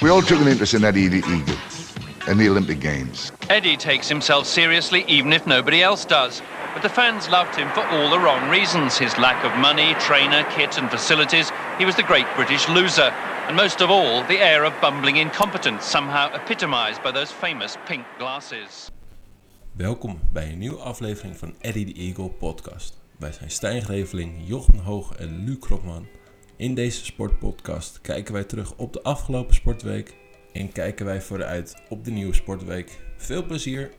We all took an interest in that E Eddie Eagle and the Olympic Games. Eddie takes himself seriously even if nobody else does. But the fans loved him for all the wrong reasons his lack of money, trainer, kit, and facilities. He was the great British loser. And most of all, the air of bumbling incompetence, somehow epitomised by those famous pink glasses. Welkom bij een nieuwe aflevering van Eddie the Eagle podcast. Wij zijn Stijn Greveling, Jochen Hoog en Luc Kropman. In deze sportpodcast kijken wij terug op de afgelopen sportweek en kijken wij vooruit op de nieuwe sportweek. Veel plezier!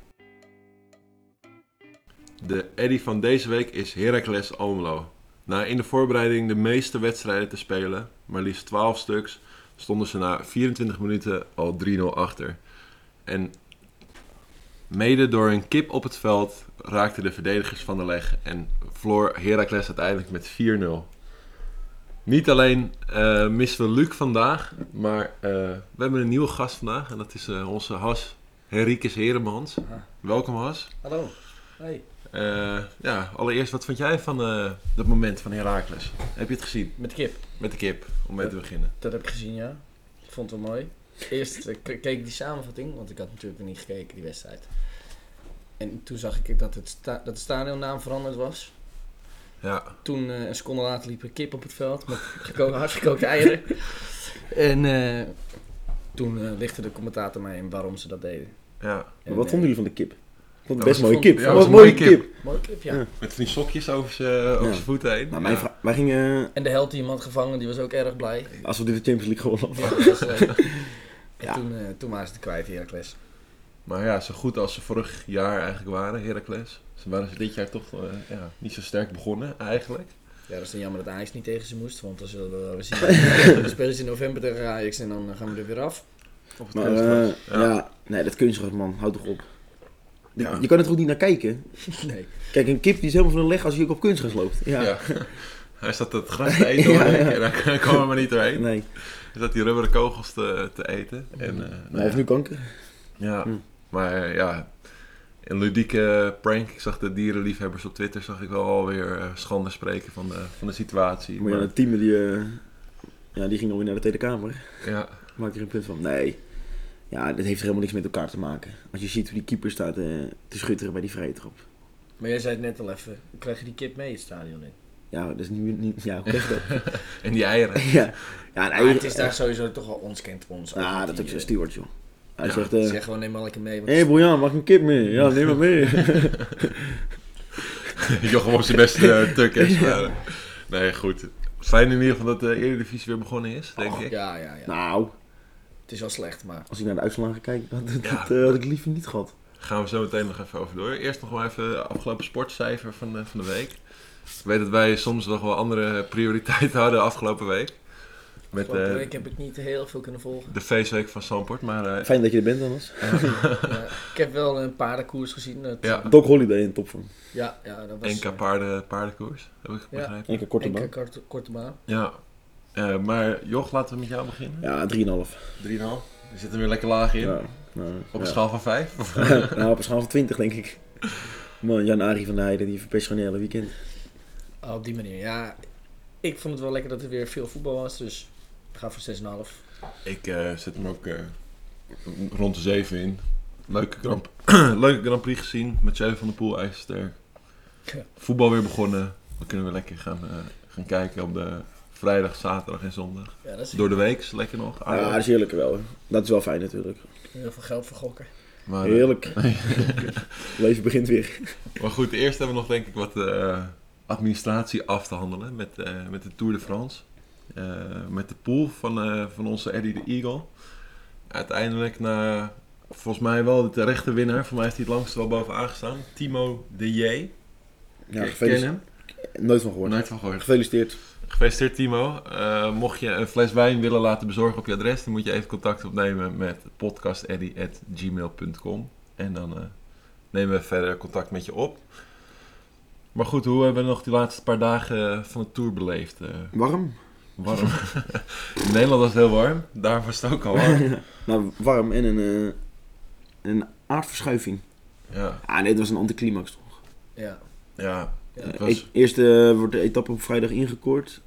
De Eddy van deze week is Heracles Almelo. Na in de voorbereiding de meeste wedstrijden te spelen, maar liefst 12 stuks, stonden ze na 24 minuten al 3-0 achter. En mede door een kip op het veld raakten de verdedigers van de leg en verloor Heracles uiteindelijk met 4-0. Niet alleen eh missen we Luc vandaag, maar eh, we hebben een nieuwe gast vandaag. En dat is eh, onze Has Henriques Heremans. Welkom Has. Hallo. Hey. Eh, ja, allereerst, wat vond jij van eh dat moment van Herakles? Heb je het gezien? Met de kip. Met de kip, om mee te beginnen. Dat heb ik gezien, ja. Ik vond het wel mooi. Eerst eh, k- keek ik die samenvatting, want ik had natuurlijk nog niet gekeken, die wedstrijd. En toen zag ik dat, het sta- dat de stadionnaam veranderd was. Ja, Toen eh, een seconde later liep een kip op het veld met geko- hardgekookte eieren. En eh, toen eh, lichtte de commentator mij in waarom ze dat deden. ja. En, wat eh, vonden jullie van de kip? Ik vond Dat het best was- een mooie kip. ja, Wat was een een mooie mooie kip. Mooie kip, ja. Ja. Met van die sokjes over zijn Ja. voeten heen. Nou, mijn Ja. vra- wij gingen, En de held die iemand gevangen, die was ook erg blij. eh, als we dit de Champions League gewonnen hadden. Ja, dat was leuk. En Ja. toen, eh, toen waren ze het kwijt, Heracles. Maar ja, zo goed als ze vorig jaar eigenlijk waren, Herakles. Ze waren ze dit jaar toch eh, ja, niet zo sterk begonnen, eigenlijk. Ja, dat is dan jammer dat Ajax niet tegen ze moest, want dan zullen we wel weer zien. We spelen ze in november tegen Ajax en dan eh, gaan we er weer af. Op het Maar kunstgras. eh, ja. nee, dat kunstgras man, houd toch op. Je- Ja. Je kan er goed niet naar kijken. Nee. Kijk, een kip die is helemaal van de leg als je ook op kunstgras loopt. Ja. Ja. Hij zat het gras te eten Ja, hoor ik, ja. en hij kwam er maar niet doorheen. Nee, Hij zat die rubberen kogels te, te eten. En, eh, nou hij heeft ja. nu kanker. Ja, Hm. maar eh, ja, een ludieke prank. Ik zag de dierenliefhebbers op Twitter, zag ik wel alweer eh, schande spreken van de, van de situatie. Maar ja, Maar, het team die, eh, ja, die ging alweer naar de Tweede Kamer. ja, Maakt er een punt van. Nee, ja, dit heeft er helemaal niks met elkaar te maken. Als je ziet hoe die keeper staat eh, te schutteren bij die vrije trap. Maar jij zei het net al even, krijg je die kip mee het stadion in? Ja, dat is niet... niet ja, hoe zeg je dat? en die eieren. ja, ja een Maar eigen- het is daar sowieso toch wel ons kent voor ons. Ja, dat is ook ik zo'n steward, joh. Hij Ja, zegt... eh, Zeg gewoon neem Malke mee, want Hé hey Bojan, mag ik een kip mee? Ja, neem maar mee. Jochem was zijn beste uh, tukkers. Nee, goed. Fijn in ieder geval dat de Eredivisie weer begonnen is, denk Oh, ik. ja, ja, ja. nou, Het is wel slecht, maar als ik naar de uitslagen kijk, had, dat, Ja. dat, eh, had ik liever niet gehad. Gaan we zo meteen nog even over door. Eerst nog maar even de afgelopen sportcijfer van de, van de week. Ik weet dat wij soms nog wel andere prioriteiten hadden afgelopen week. Met afgelopen eh, week heb ik niet heel veel kunnen volgen. de feestweek van Samport, maar eh, Fijn dat je er bent, Anders. Ja, ik heb wel een paardenkoers gezien. dat- ja, Doc Holiday in topvorm. ja, ja, dat was... NK paarden, paardenkoers, heb ik Ja. begrepen. Enkele korte Enka baan. korte, korte baan. Ja. Eh, maar Joch, laten we met jou beginnen. Ja, 3,5. 3,5. Je zit er weer lekker laag in. Ja, nou, Op een ja. schaal van 5. nou, op een schaal van 20, denk ik. Man, Jan-Arie van der Heijden, die verpest gewoon een hele weekend. Oh, op die manier, ja. Ik vond het wel lekker dat er weer veel voetbal was, dus ik ga voor 6,5. Ik eh, zet hem ook eh, rond de 7 in. Leuke Grand, Leuke Grand Prix gezien met Jeu van der Poel, ijzersterk. Ja. Voetbal weer begonnen. We kunnen weer lekker gaan, eh, gaan kijken op de vrijdag, zaterdag en zondag. Ja, dat is Door de week is lekker nog. Ah, Ja, dus Ah, dat is heerlijk wel. hè. Dat is wel fijn natuurlijk. heel veel geld vergokken. Maar, eh, Heerlijk. Leven begint weer. Maar goed, eerst hebben we nog denk ik wat eh, administratie af te handelen met, eh, met de Tour de France. Eh, met de pool van, eh, van onze Eddie de Eagle. Uiteindelijk na volgens mij wel de terechte winnaar. Voor mij is hij het langst wel bovenaan gestaan. Timo de J. Ja, ken gefeliciteerd. hem. Nooit van gehoord. Nooit van gehoord. Gefeliciteerd. Gefeliciteerd Timo. Eh, mocht je een fles wijn willen laten bezorgen op je adres, dan moet je even contact opnemen met podcasteddy.gmail.com. En dan eh, nemen we verder contact met je op. Maar goed, hoe hebben we nog die laatste paar dagen van de tour beleefd? Eh, Warm? warm. In Nederland was het heel warm, daar was het ook al warm. Nou, warm en een, eh, een aardverschuiving. Ja, Ah nee, dat was een anticlimax toch? Ja, ja. Ja, Het E- was, Eerst eh, wordt de etappe op vrijdag ingekoord.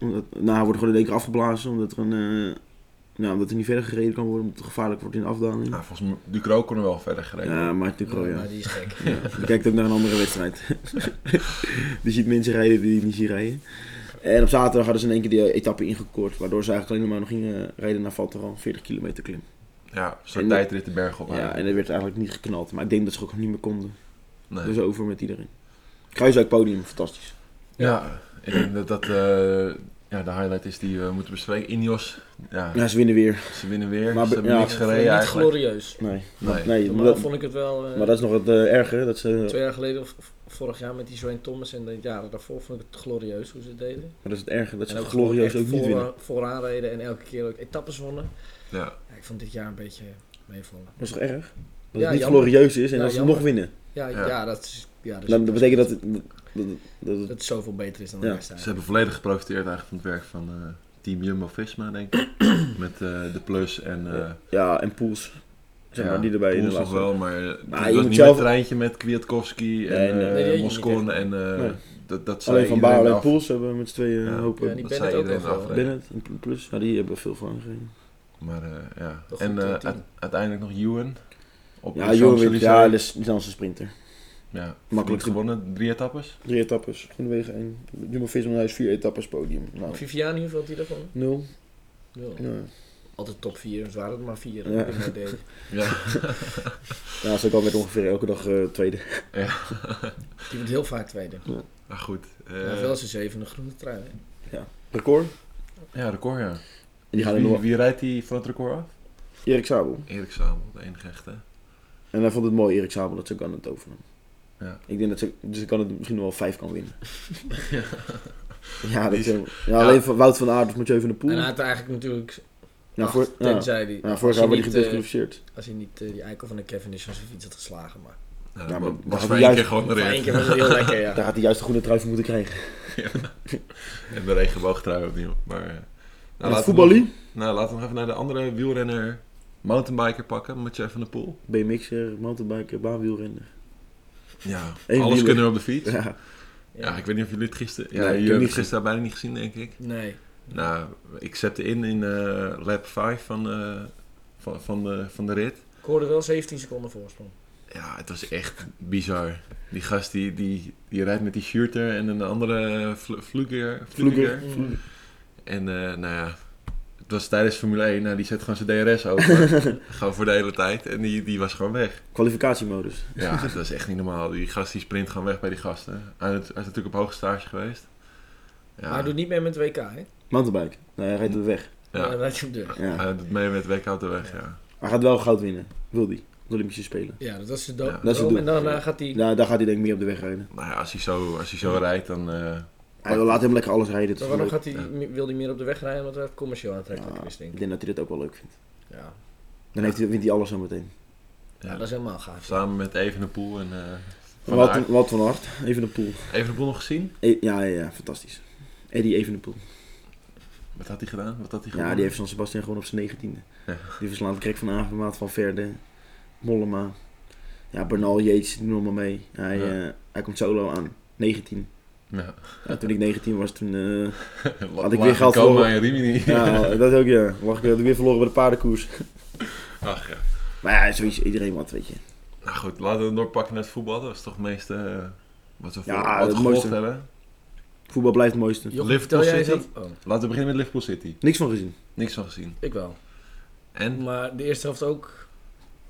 Omdat, nou, wordt gewoon in één keer afgeblazen omdat er een, eh, Nou, omdat er niet verder gereden kan worden, omdat het gevaarlijk wordt in de afdaling. Nou, volgens mij, Ducro kon er wel verder gereden. Ja, Maarten Kroo, ja. Maar die is gek. Die kijkt ook naar een andere wedstrijd. die ziet mensen rijden die hij niet ziet rijden. En op zaterdag hadden ze in één keer die eh, etappe ingekoord. Waardoor ze eigenlijk alleen maar nog gingen rijden naar Valteran. 40 kilometer klim. Ja, zo'n En- tijdrit de berg op. Ja, en dat werd eigenlijk niet geknald. Maar ik denk dat ze ook niet meer konden. Nee. Dus over met iedereen. Kruiswijk podium, fantastisch. ja, ik denk dat dat eh, ja, de highlight is die we moeten bespreken. Ineos, ja, Ja, ze winnen weer. ze winnen weer. Maar ze be- hebben ja, niks Vond ik gereden niet eigenlijk. glorieus. Nee. Nee. nee maar, Normaal dat, vond ik het wel... eh, maar dat is nog het eh, erger. Dat ze, Twee jaar geleden of of vorig jaar met die Joanne Thomas en de jaren daarvoor vond ik het glorieus hoe ze het deden. maar dat is het erger. Dat en ze glorieus gewoon echt ook niet voor- eh, winnen. Vooraan reden en elke keer ook etappes wonnen. Ja. Ja, ik vond dit jaar een beetje meevallen. Dat is toch erg? Dat Ja, het niet jammer. glorieus is en Ja, dat ze jammer. nog winnen. Ja, Ja. ja. dat is... Ja, dat, is- Dan, dat betekent dat, het- dat, dat, dat dat het zoveel beter is dan de Ja, rest Ze eigenlijk. hebben volledig geprofiteerd eigenlijk van het werk van eh, Team Jumbo-Visma, denk ik. Met eh, de plus en... eh Ja, en Poels. Zeg maar, die erbij in de Poels nog laatste. wel, maar het Maar was je niet moet met zelf- het rijntje met Kwiatkowski en Nee, eh nee. Nee, die had je niet Moscon echt. en... eh, Nee. Dat, dat zei Alleen Van iedereen Baarle en af. Poels hebben we met z'n tweeën Ja. een hoop. Ja, die Dat Bennett zei ook al iedereen wel. af. Bennett en Plus, ja, die hebben veel van gereden. Maar eh, ja, Toch en goed, eh, eh, team. uite- uiteindelijk nog Ewan. Op Ja, de Johan wint. Champs-Élysées. Ja, dat is dat is een sprinter. Ja, Makkelijk. makkelijk gewonnen, drie etappes. Drie etappes, Groenwegen 1. Jumbo Visma huis, vier etappes podium. Nou, Viviani, hoeveel had hij daarvan? nul. Nul. Ja, Altijd top 4, dus waren het maar 4. Ja. Ja, ja dat is ook al met ongeveer elke dag eh, tweede. Die wordt heel vaak tweede. maar goed. eh, maar wel zijn zevende groene trui. hè. Record. ja, record ja. En die gaan er wie, nog wie rijdt die van het record af? Erik Sabel. Erik Sabel, de enige echte. En hij vond het mooi, Erik Sabel, dat ze kan het overnam. Ja. Ik denk dat ze, dus ze kan het misschien nog wel vijf kan winnen. ja, dat is, Die- helemaal- ja, alleen van Wout van Aert of Mathieu van der En Poel. hij had eigenlijk natuurlijk... Ja, acht, voor, ja. tenzij die, ja, als vorig jaar hij werd hij niet, eh, gedisqualificeerd. Als hij niet eh, die eikel van de Cavendish van zijn fiets had geslagen. Maar Nou, Ja, maar was- daar was had voor hij één juist- keer gewoon voor één erin. keer was het heel lekker, ja. Daar had hij juist de groene trui voor moeten krijgen. En de regenboogtrui opnieuw. Maar, eh, nou, En laten het we voetballie? nog- Nou, laten we nog even naar de andere wielrenner, mountainbiker pakken, Mathieu van der Poel. BMX'er, mountainbiker, baanwielrenner. Ja, Eén alles wieler. kunnen we op de fiets. Ja. Ja, ik weet niet of jullie het gisteren... Ja, Nee, ik heb jullie hebben het niet gisteren bijna niet gezien, denk ik. Nee. Nou, ik zette in in eh, lap 5 van, eh, van, van, de, van de rit. Ik hoorde wel 17 seconden voorsprong. Ja, het was echt bizar. Die gast die, die, die rijdt met die shooter en een andere vl vlugger, vloeker. En eh, nou ja, het was tijdens Formule 1. Nou, die zet gewoon zijn DRS open. gewoon voor de hele tijd. En die, die was gewoon weg. Kwalificatiemodus. Ja, dat was echt niet normaal. Die gast die sprint gewoon weg bij die gasten. Hij is hij is natuurlijk op hoge stage geweest. Ja, Maar hij doet niet meer met WK, hè? Eh, Mountainbike. Nee, Nou, hij rijdt op de weg. Ja. Dan ja. rijdt hij op de weg. Ja. Hij doet mee met WK op de weg, ja. Hij gaat wel goud winnen. Wil hij. Op de Olympische Spelen. Ja, dat was de Ja, dood. dat is het doel. en dan eh, gaat hij... Ja, daar gaat hij denk ik meer op de weg rijden. Nou ja, als hij zo, als hij zo rijdt, dan... eh, Hij wil laat hem lekker alles rijden. Maar Dat is waarom leuk. gaat hij, mi- wil hij meer op de weg rijden? Omdat hij commercieel aantrekkelijker is, Ja, denk ik ik. denk dat hij dat ook wel leuk vindt. Ja. Dan heeft hij, wint hij alles zo meteen. Ja, dat is helemaal gaaf. Samen met Evenepoel en... eh van Wout Aert. van, Wout van Aert, Evenepoel. Evenepoel nog gezien? E ja, ja, ja, fantastisch. Eddie Evenepoel. Wat had hij gedaan? Wat had hij gedaan? Ja, die heeft San Sebastian gewoon op zijn negentiende. Ja. Die verslaat Krek van Avermaat, Van Verde, Mollema. Ja, Bernal Yates, die doen allemaal mee. Hij, Ja. eh, hij komt solo aan. 19. Ja. Ja, toen ik 19 was, toen... eh, Had ik weer geld verloren? en Rimini. ja, dat ook, ja. Lag ik had ik weer verloren bij de paardenkoers. Ach ja. Maar ja, sowieso iedereen wat, weet je. Nou goed, laten we het doorpakken naar het voetbal. Dat is toch het meeste eh, wat we voor Ja, wat het gevolgd mooiste. hebben. Voetbal blijft het mooiste. Jochie, Liverpool vertel jij City? eens dat- Oh, Laten we beginnen met Liverpool City. Niks van gezien. Niks van gezien. ik wel. En? Maar de eerste helft ook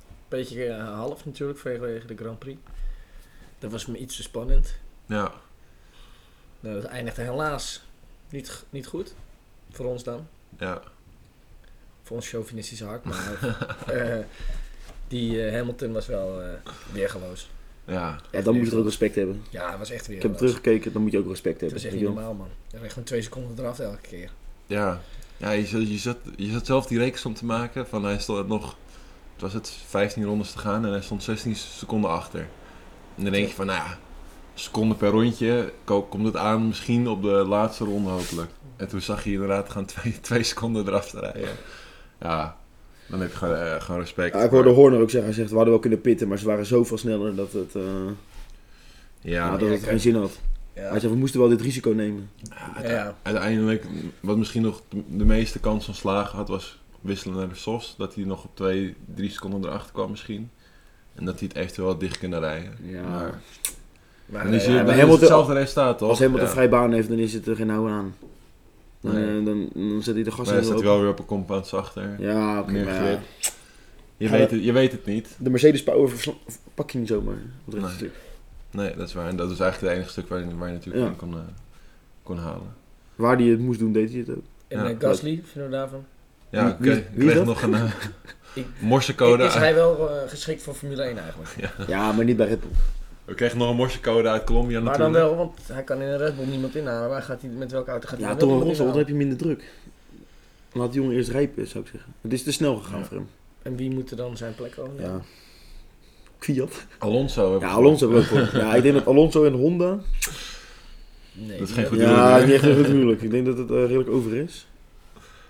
een beetje eh, half natuurlijk vanwege de Grand Prix. Dat was me iets te spannend. Ja. Nou, dat eindigde helaas niet, g- niet goed. Voor ons dan. Ja. Voor ons chauvinistische hart. Maar eh, die eh, Hamilton was wel eh weergeloos. Ja. Ja, dan moet je er ook respect hebben. Ja, hij was echt Ik weergeloos. heb hem teruggekeken, dan moet je ook respect Dat hebben. was echt weet niet je wel. normaal, man. Hij reed gewoon twee seconden eraf elke keer. Ja. Ja, je zat, je zat, je zat zelf die rekensom te maken van hij stond nog... Het was het 15 rondes te gaan en hij stond 16 seconden achter. En dan denk je van, nou ja, seconde per rondje ko- komt het aan misschien op de laatste ronde hopelijk. En toen zag je inderdaad gewoon twee, twee seconden eraf te rijden. Ja, dan heb je gewoon, eh, gewoon respect. Ja, ik hoorde Horner ook zeggen, hij zegt, we hadden wel kunnen pitten, maar ze waren zoveel sneller dat het, eh, Ja, ja, dat het ja, geen zin had. Ja. Hij zei, we moesten wel dit risico nemen. Ja, Ja. uiteindelijk, wat misschien nog de, de meeste kans van slagen had, was wisselen naar de SOS. Dat hij nog op 2, 3 seconden erachter kwam misschien. En dat hij het eventueel had dicht kunnen rijden. Ja. Maar Maar, dan is, eh, het- maar dan is Hamilton- het hetzelfde resultaat, toch? Als helemaal ja. een vrij baan heeft, dan is het er geen houden aan. Dan, Nee. eh, dan, dan zet hij de gas Maar hij staat open. wel weer op een compound achter. Ja, oké. Meer maar ja, grip. Je, Ja, weet dat- het, je weet het niet. de Mercedes Power versla- pak je niet zomaar. Op het Nee. rechtstuk. Nee, dat is waar. En dat is eigenlijk het enige stuk waar, je- waar je natuurlijk Ja. in kon, eh, kon halen. Waar hij het moest doen, deed hij het ook. en Ja. eh, Gasly, vinden we daarvan? Ja, Wie- oké. wie- Ik wie is kreeg dat? nog een eh, Ik- morsecode. Is uit- hij wel eh, geschikt voor Formule 1 eigenlijk? Ja, maar niet bij Red Bull. We kregen nog een morsecode uit Colombia Maar dan natuurlijk. wel, want hij kan in een Red Bull niemand inhalen. Waar gaat hij, met welke auto gaat hij Ja, dan toch een wel roze, want dan iemand heb je minder druk. Laat die jongen eerst rijpen, zou ik zeggen. Het is te snel gegaan Ja. voor hem. inhalen? En wie moet er dan zijn plek overnemen? Ja. Fiat. Alonso. heb Ja, ik Alonso ook voor. Ja, ik denk dat Alonso en Honda... Nee, Dat is die- geen goed huwelijk Ja, meer. niet echt een goed huwelijk. Ik denk dat het eh, redelijk over is.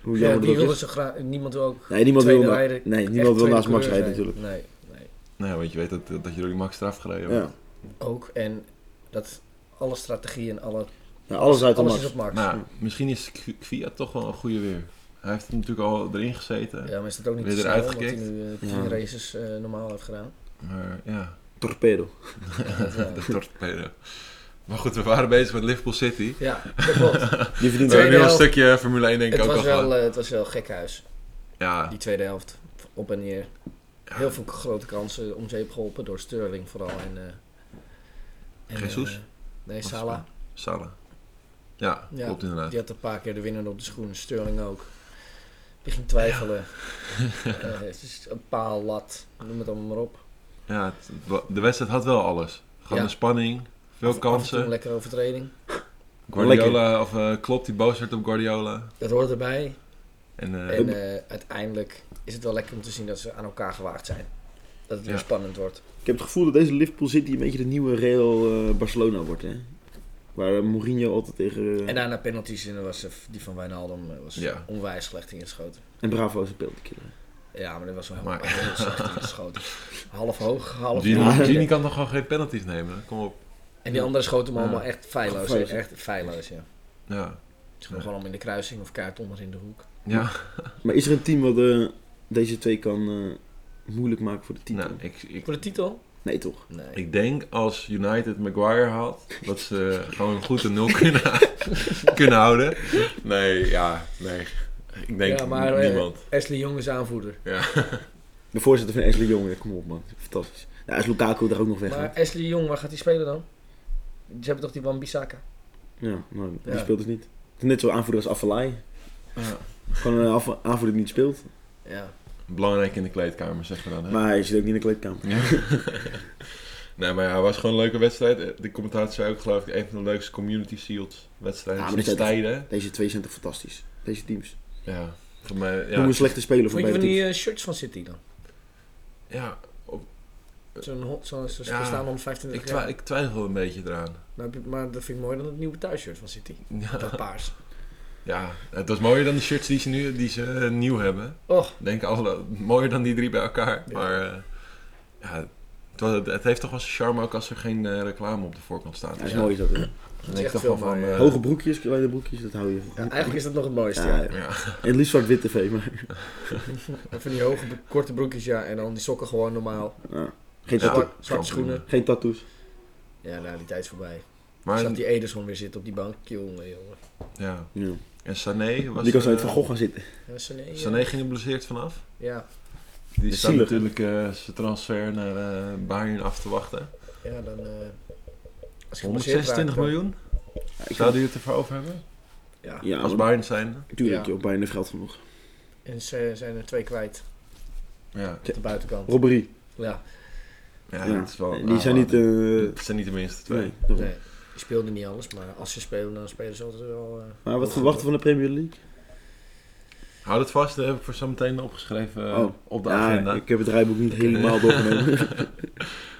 Hoe Ja, jammer die dat ook wilde is. zo graag. Niemand wil ook. Nee, niemand wil, tweede na- rijden. nee, echt niemand wil tweede naast Max coureur rijden zijn. natuurlijk. Nee, nee. Nee, want je weet dat, dat je door die Max eraf gereden wordt. Ja. Ook en dat alle strategie en alle. Ja, alles uit de alles Max. is op Max. Nou, misschien is Kv- Kvyat toch wel een goede weer. Hij heeft natuurlijk al erin gezeten. ja, maar is dat ook niet Weer te snel, eruit omdat hij gekikt. nu eh, tien Ja. races eh, normaal heeft gedaan. Maar ja, Torpedo. Dat eh, wel. de torpedo. Maar goed, we waren bezig met Liverpool City. ja, dat klopt. Die We verdient Tweede hebben nu al een helft. stukje Formule 1 denk ik het, ook al was wel, gehad. eh, het was wel gek huis, Ja, die tweede helft. Op en neer. Heel veel grote kansen eh, om zeep geholpen door Sterling vooral. En, eh, en, Jesus? eh, nee, is Salah. Salah. Ja, Ja, klopt inderdaad. Die had een paar keer de winnende op de schoen, Sterling ook. Die ging twijfelen. Eh, het is een paal, lat, noem het allemaal maar op. Ja, het- het wa- de wedstrijd had wel alles. Gewoon Ja. de spanning, veel Af- af en toe een kansen. lekkere overtreding. Guardiola, of eh klopt die boos werd op Guardiola. Dat hoort erbij. En, eh, En eh, uiteindelijk is het wel lekker om te zien dat ze aan elkaar gewaagd zijn. Dat het weer Ja. spannend wordt. Ik heb het gevoel dat deze Liverpool City een beetje de nieuwe Real eh, Barcelona wordt, hè? Waar eh, Mourinho altijd tegen... eh, En daarna penalties en dan was eh, die van Wijnaldum eh, was Ja. onwijs slecht ingeschoten. en Bravo is een penaltykiller. Ja, maar dat was wel heel, Maar- heel slecht ingeschoten. Half hoog, half Gini, laag. Gini kan toch gewoon geen penalties nemen? Kom op. En die andere schoten hem allemaal Ja. echt feilloos. Feilloos. Echt feilloos, ja. Ja. Ze gewoon allemaal in de kruising of kaart onder in de hoek. Ja, Maar is er een team wat eh, deze twee kan eh, moeilijk maken voor de titel? nou, ik, ik, Voor de titel? Nee, toch? Nee. ik denk als United Maguire had, dat ze gewoon goed een nul kunnen, kunnen houden. Nee, ja, nee. Ik denk ja, maar eh, niemand. Ashley Jong is aanvoerder. De voorzitter van Ashley Jong, ja, kom op man. Fantastisch. Ja, is Lukaku daar ook nog weg? Maar gaat. Ashley Jong, waar gaat hij spelen dan? Ze hebben toch die Wan-Bissaka? Ja, maar die Ja. speelt dus niet. Het is net zo aanvoerder als Affalay. Ja. Gewoon een aanvo- aanvoerder die niet speelt. Ja. Belangrijk in de kleedkamer, zeggen we dan. Hè? Maar hij zit ook niet in de kleedkamer. Ja. nee, maar ja, het was gewoon een leuke wedstrijd. Eh, De commentator zei ook, geloof ik, een van de leukste Community Shield wedstrijden Ja, maar sinds dat is- tijden. Deze twee zijn toch fantastisch? Deze teams. Ja, voor mij, Noem ja, een slechte speler voor Vond je beide van teams. die eh, shirts van City dan? ja op- Zo'n hot, zo'n zo, Ja, staan 125 ik, ik twi- ik twijfel een beetje eraan. Nou, heb je- maar dat vind ik mooier dan het nieuwe thuisshirt van City. Ja, Dat paars. ja, het was mooier dan de shirts die ze nu die ze, eh, nieuw hebben. Och, Ik denk alle, mooier dan die drie bij elkaar. Maar eh, ja, het, was- het heeft toch wel zijn charme ook als er geen eh, reclame op de voorkant staat. Dus Ja, dat is mooi is dat. hè. Dan is denk ik echt toch veel wel van... mooier. eh, Hoge broekjes, kleine broekjes, dat hou je. ja, eigenlijk is dat nog het mooiste. eh, Ja, Ja, ja. ja. En het liefst zwart wit tv, maar Van die hoge, bro- korte broekjes, ja. En dan die sokken gewoon normaal. ja. geen, Ja. tattoo- Zwart, zwarte schoenen. geen tattoos. Ja, nou, die tijd is voorbij. Maar, Zat die Ederson weer zitten op die bank. Jongen, jongen. ja. Ja. En Sané was... Die kan zo uit eh, Van Gogh gaan zitten. Ja, Sané, ja. Sané ging er blesseerd vanaf. Ja, Die is staat zielig. natuurlijk eh, zijn transfer naar eh Bayern af te wachten. ja, dan... eh, als je geblesseerd raakt, 126 dan- miljoen? Zouden jullie het ervoor over hebben? Ja. Ja, Als maar, Bayern zijn. tuurlijk Ja. joh, Bayern heeft geld genoeg. En ze eh, zijn er twee kwijt. Ja, Op de buitenkant. Robbery. Ja, ja, Ja. dat is wel... Die nou, zijn niet... maar- eh, Het zijn niet de minste twee. nee, daarom. nee. Die speelden niet alles, maar als ze spelen, dan spelen ze altijd wel. eh, Maar wel wat goed, verwachten we hoor. van de Premier League? Hou dat vast, dat heb ik voor zometeen opgeschreven eh, Oh. op de Ja, agenda. ik heb het rijboek niet helemaal doorgenomen.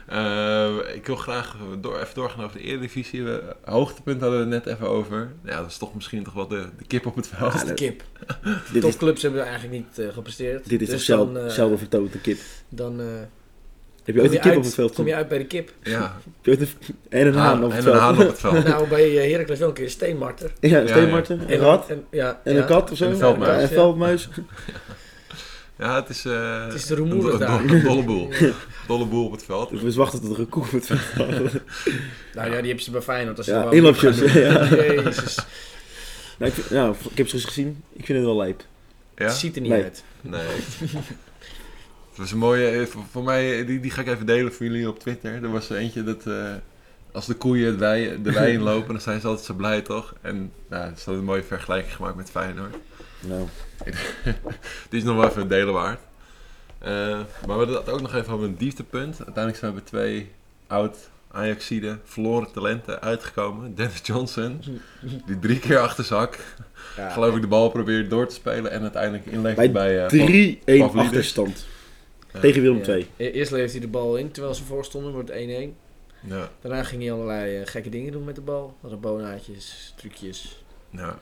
Eh, ik wil graag door, even doorgaan over de Eredivisie. We, hoogtepunt hadden we het net even over. Ja, dat is toch misschien toch wel de, de kip op het veld. Dat is de kip. Dit is, Topclubs hebben we eigenlijk niet eh, gepresteerd. dit is toch Dus zelden dan, eh, zelden vertoond een kip. Dan eh, Heb je kom, ooit je een kip uit, op het veld kom gezien? je uit bij de kip. Ja, Heb je ooit een- En een haan op het Ah, en een haan veld. op het veld. nou, bij eh, Heracles wel een keer een steenmarter. Ja, steenmarten, een rat En, ja, en ja. een kat of zo. En een veldmuis. Ja, Een veldmuis. Ja, het is, eh, Het is de rumoer een, do- daar. een do- een dolle boel. Dolle boel op het veld. Dus we wachten tot er een koek wordt verhaald. Nou ja, die hebben ze bij Feyenoord. Als ze Ja, gewoon- inloopjes, ja, ja. Jezus, nou, ik, vind- nou, ik heb ze eens gezien. Ik vind het wel lijp. Ja? het ziet er niet Nee. uit. Nee. Het was een mooie, eh, voor, voor mij, eh, die, die ga ik even delen voor jullie op Twitter. Er was er eentje dat eh, als de koeien het wei, de wei inlopen, dan zijn ze altijd zo blij, toch? En nou, ze hadden een mooie vergelijking gemaakt met Feyenoord. Nou, Die is nog wel even delen waard. Eh, maar we hadden het ook nog even over een dieptepunt. Uiteindelijk zijn we bij twee oud Ajaxide verloren talenten uitgekomen. Dennis Johnson, die drie keer achter zak, Ja. geloof ik, de bal probeert door te spelen en uiteindelijk inlegt bij, Bij eh, 3-1 Pavlidis. achterstand. Tegen Willem Ja. 2. E- Eerst leefde hij de bal in terwijl ze voor stonden, wordt 1-1. Ja, Daarna ging hij allerlei eh, gekke dingen doen met de bal. Rabonaatjes, trucjes. ja.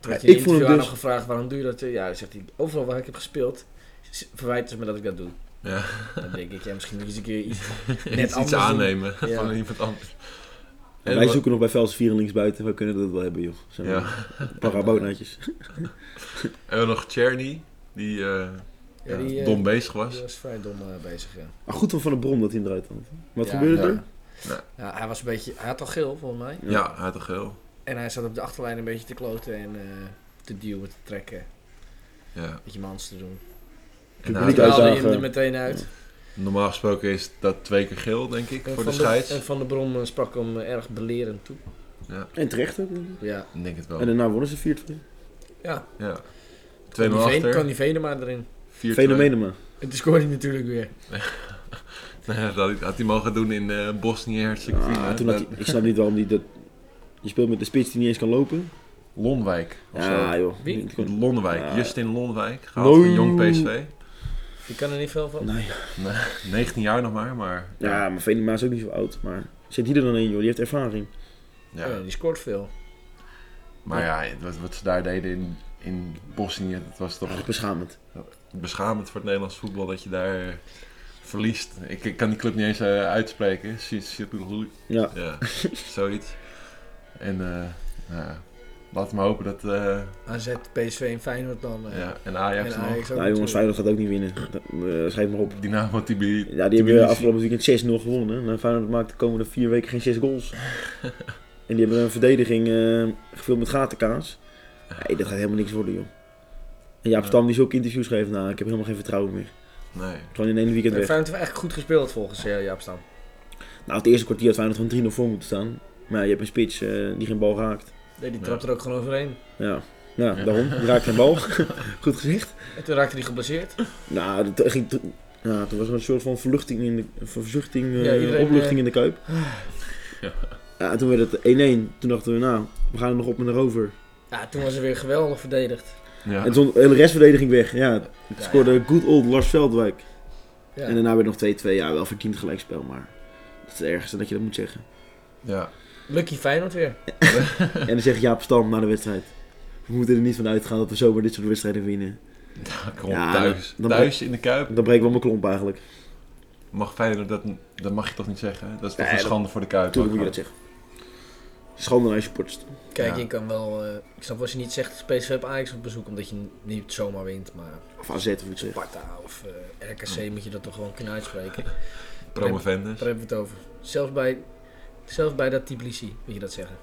Toen werd Ja, hij in ik een vond hem interview aan dus- hem gevraagd waarom doe je dat. Ja, dan zegt hij, overal waar ik heb gespeeld, s- verwijten ze me dat ik dat doe. Ja. Dan denk ik, ja, misschien moet je eens een keer iets net Net anders iets doen. aannemen Ja. van iemand anders. En wij zoeken nog bij Vels 4 en links buiten. We kunnen dat wel hebben, joh. Zijn Ja. parabonaatjes. En we nog Cherny, die, eh, Ja, ja, die, eh, dom bezig die was. was vrij dom eh, bezig, ja. Maar Ah, goed van Van de Brom dat hij hem eruit had. Wat Ja, gebeurde ja. er? Nou. ja. Hij was een beetje, hij had al geel volgens mij. Ja, hij had toch heel. En hij zat op de achterlijn een beetje te kloten en eh, te duwen, te trekken. Een Ja. beetje mans te doen. En Publiek hij- Toen haalde hij hem uitdagen. er meteen uit. normaal gesproken is dat twee keer geel, denk ik, En voor de van scheids. en Van de Brom eh, sprak hem eh, erg belerend toe. En terecht ook. denk ik. Ja. Ik denk het wel. En daarna wonnen ze 4-2. Ja, Ja. kan 2-0 die, Veen- kan achter. die Venema erin. 4-2. Fenomenen maar. En toen scoorde hij natuurlijk weer. Nee, dat had hij- had hij mogen doen in eh, Bosnië-Herzegovina. Ah, toen had Dat- hij- ik snap niet waarom die dat... Je speelt met de spits die niet eens kan lopen. Lonwijk. Of Ja, joh. Wie? Niet zo. kon- Lonwijk. Ja. Justin Lonwijk. Gehaald van Jong PSV. Je kan er niet veel van. Nee. Nee, 19 jaar nog maar, maar... Ja, maar Venema is ook niet zo oud. Maar zit hier dan in, joh. Die heeft ervaring. ja. Oh, Ja, die scoort veel. Maar ja, wat, wat ze daar deden in, in Bosnië, dat was toch Echt beschamend. beschamend voor het Nederlands voetbal dat je daar eh, verliest. Ik, ik kan die club niet eens eh, uitspreken. Sint- Sint- Ja. Ja, zoiets. En eh, nou ja, laten we hopen dat... eh, AZ, PSV en Feyenoord dan. eh, ja, en Ajax en nog. Ajax ook Nou jongens, natuurlijk. Feyenoord gaat ook niet winnen. Dat- eh, Schrijf maar op. Dynamo Tibi. Ja, die hebben afgelopen weekend 6-0 gewonnen. En Feyenoord maakt de komende vier weken geen 6 goals. en die hebben een verdediging eh, gevuld met gatenkaas. Nee, dat gaat helemaal niks worden, joh. En Jaap Stam die zulke interviews geeft, nou, ik heb helemaal geen vertrouwen meer. Nee. Gewoon in één weekend Maar weg. Feyenoord heeft echt goed gespeeld volgens eh, Jaap Stam. Nou, het eerste kwartier had Feyenoord gewoon 3-0 voor moeten staan. Maar ja, je hebt een spits eh, die geen bal raakt. Nee, die trapt er ook gewoon overheen. Ja, ja, daarom. Die raakt geen bal. Goed gezegd. En toen raakte hij geblesseerd. Nou, dat ging... Nou, toen was er een soort van verluchting in de... Verzuchting, eh, Ja, iedereen, opluchting eh, in de kuip. Ja, toen werd het 1-1. Toen dachten we, nou, we gaan er nog op en erover. Ja, toen was hij weer geweldig verdedigd. Ja. En toen de hele restverdediging weg. Ja, het scoorde good old Lars Veldwijk. Ja. En daarna weer nog 2-2. Ja, wel verdiend gelijkspel, maar dat is het ergste dat je dat moet zeggen. ja. Lucky Feyenoord weer. en dan zegt Jaap Stam na de wedstrijd. We moeten er niet van uitgaan dat we zomaar dit soort wedstrijden winnen. Ik kom Ja, thuis. dan- dan- thuis in de Kuip. Dan breekt wel mijn klomp eigenlijk. Mag Feyenoord, dat, dat mag je toch niet zeggen? hè? Dat is toch Nee, een dat- schande voor de Kuip? Natuurlijk moet je dat zeggen. Schande naar je supporters. Kijk, Ja. je kan wel... eh, ik snap als je niet zegt PSV op Ajax op bezoek, omdat je niet zomaar wint. Maar Of AZ of iets. zeggen. Sparta of eh, RKC moet je dat toch gewoon kunnen uitspreken. Promovendus. Daar hebben we het over. Zelfs bij, zelfs bij dat Tbilisi moet je dat zeggen.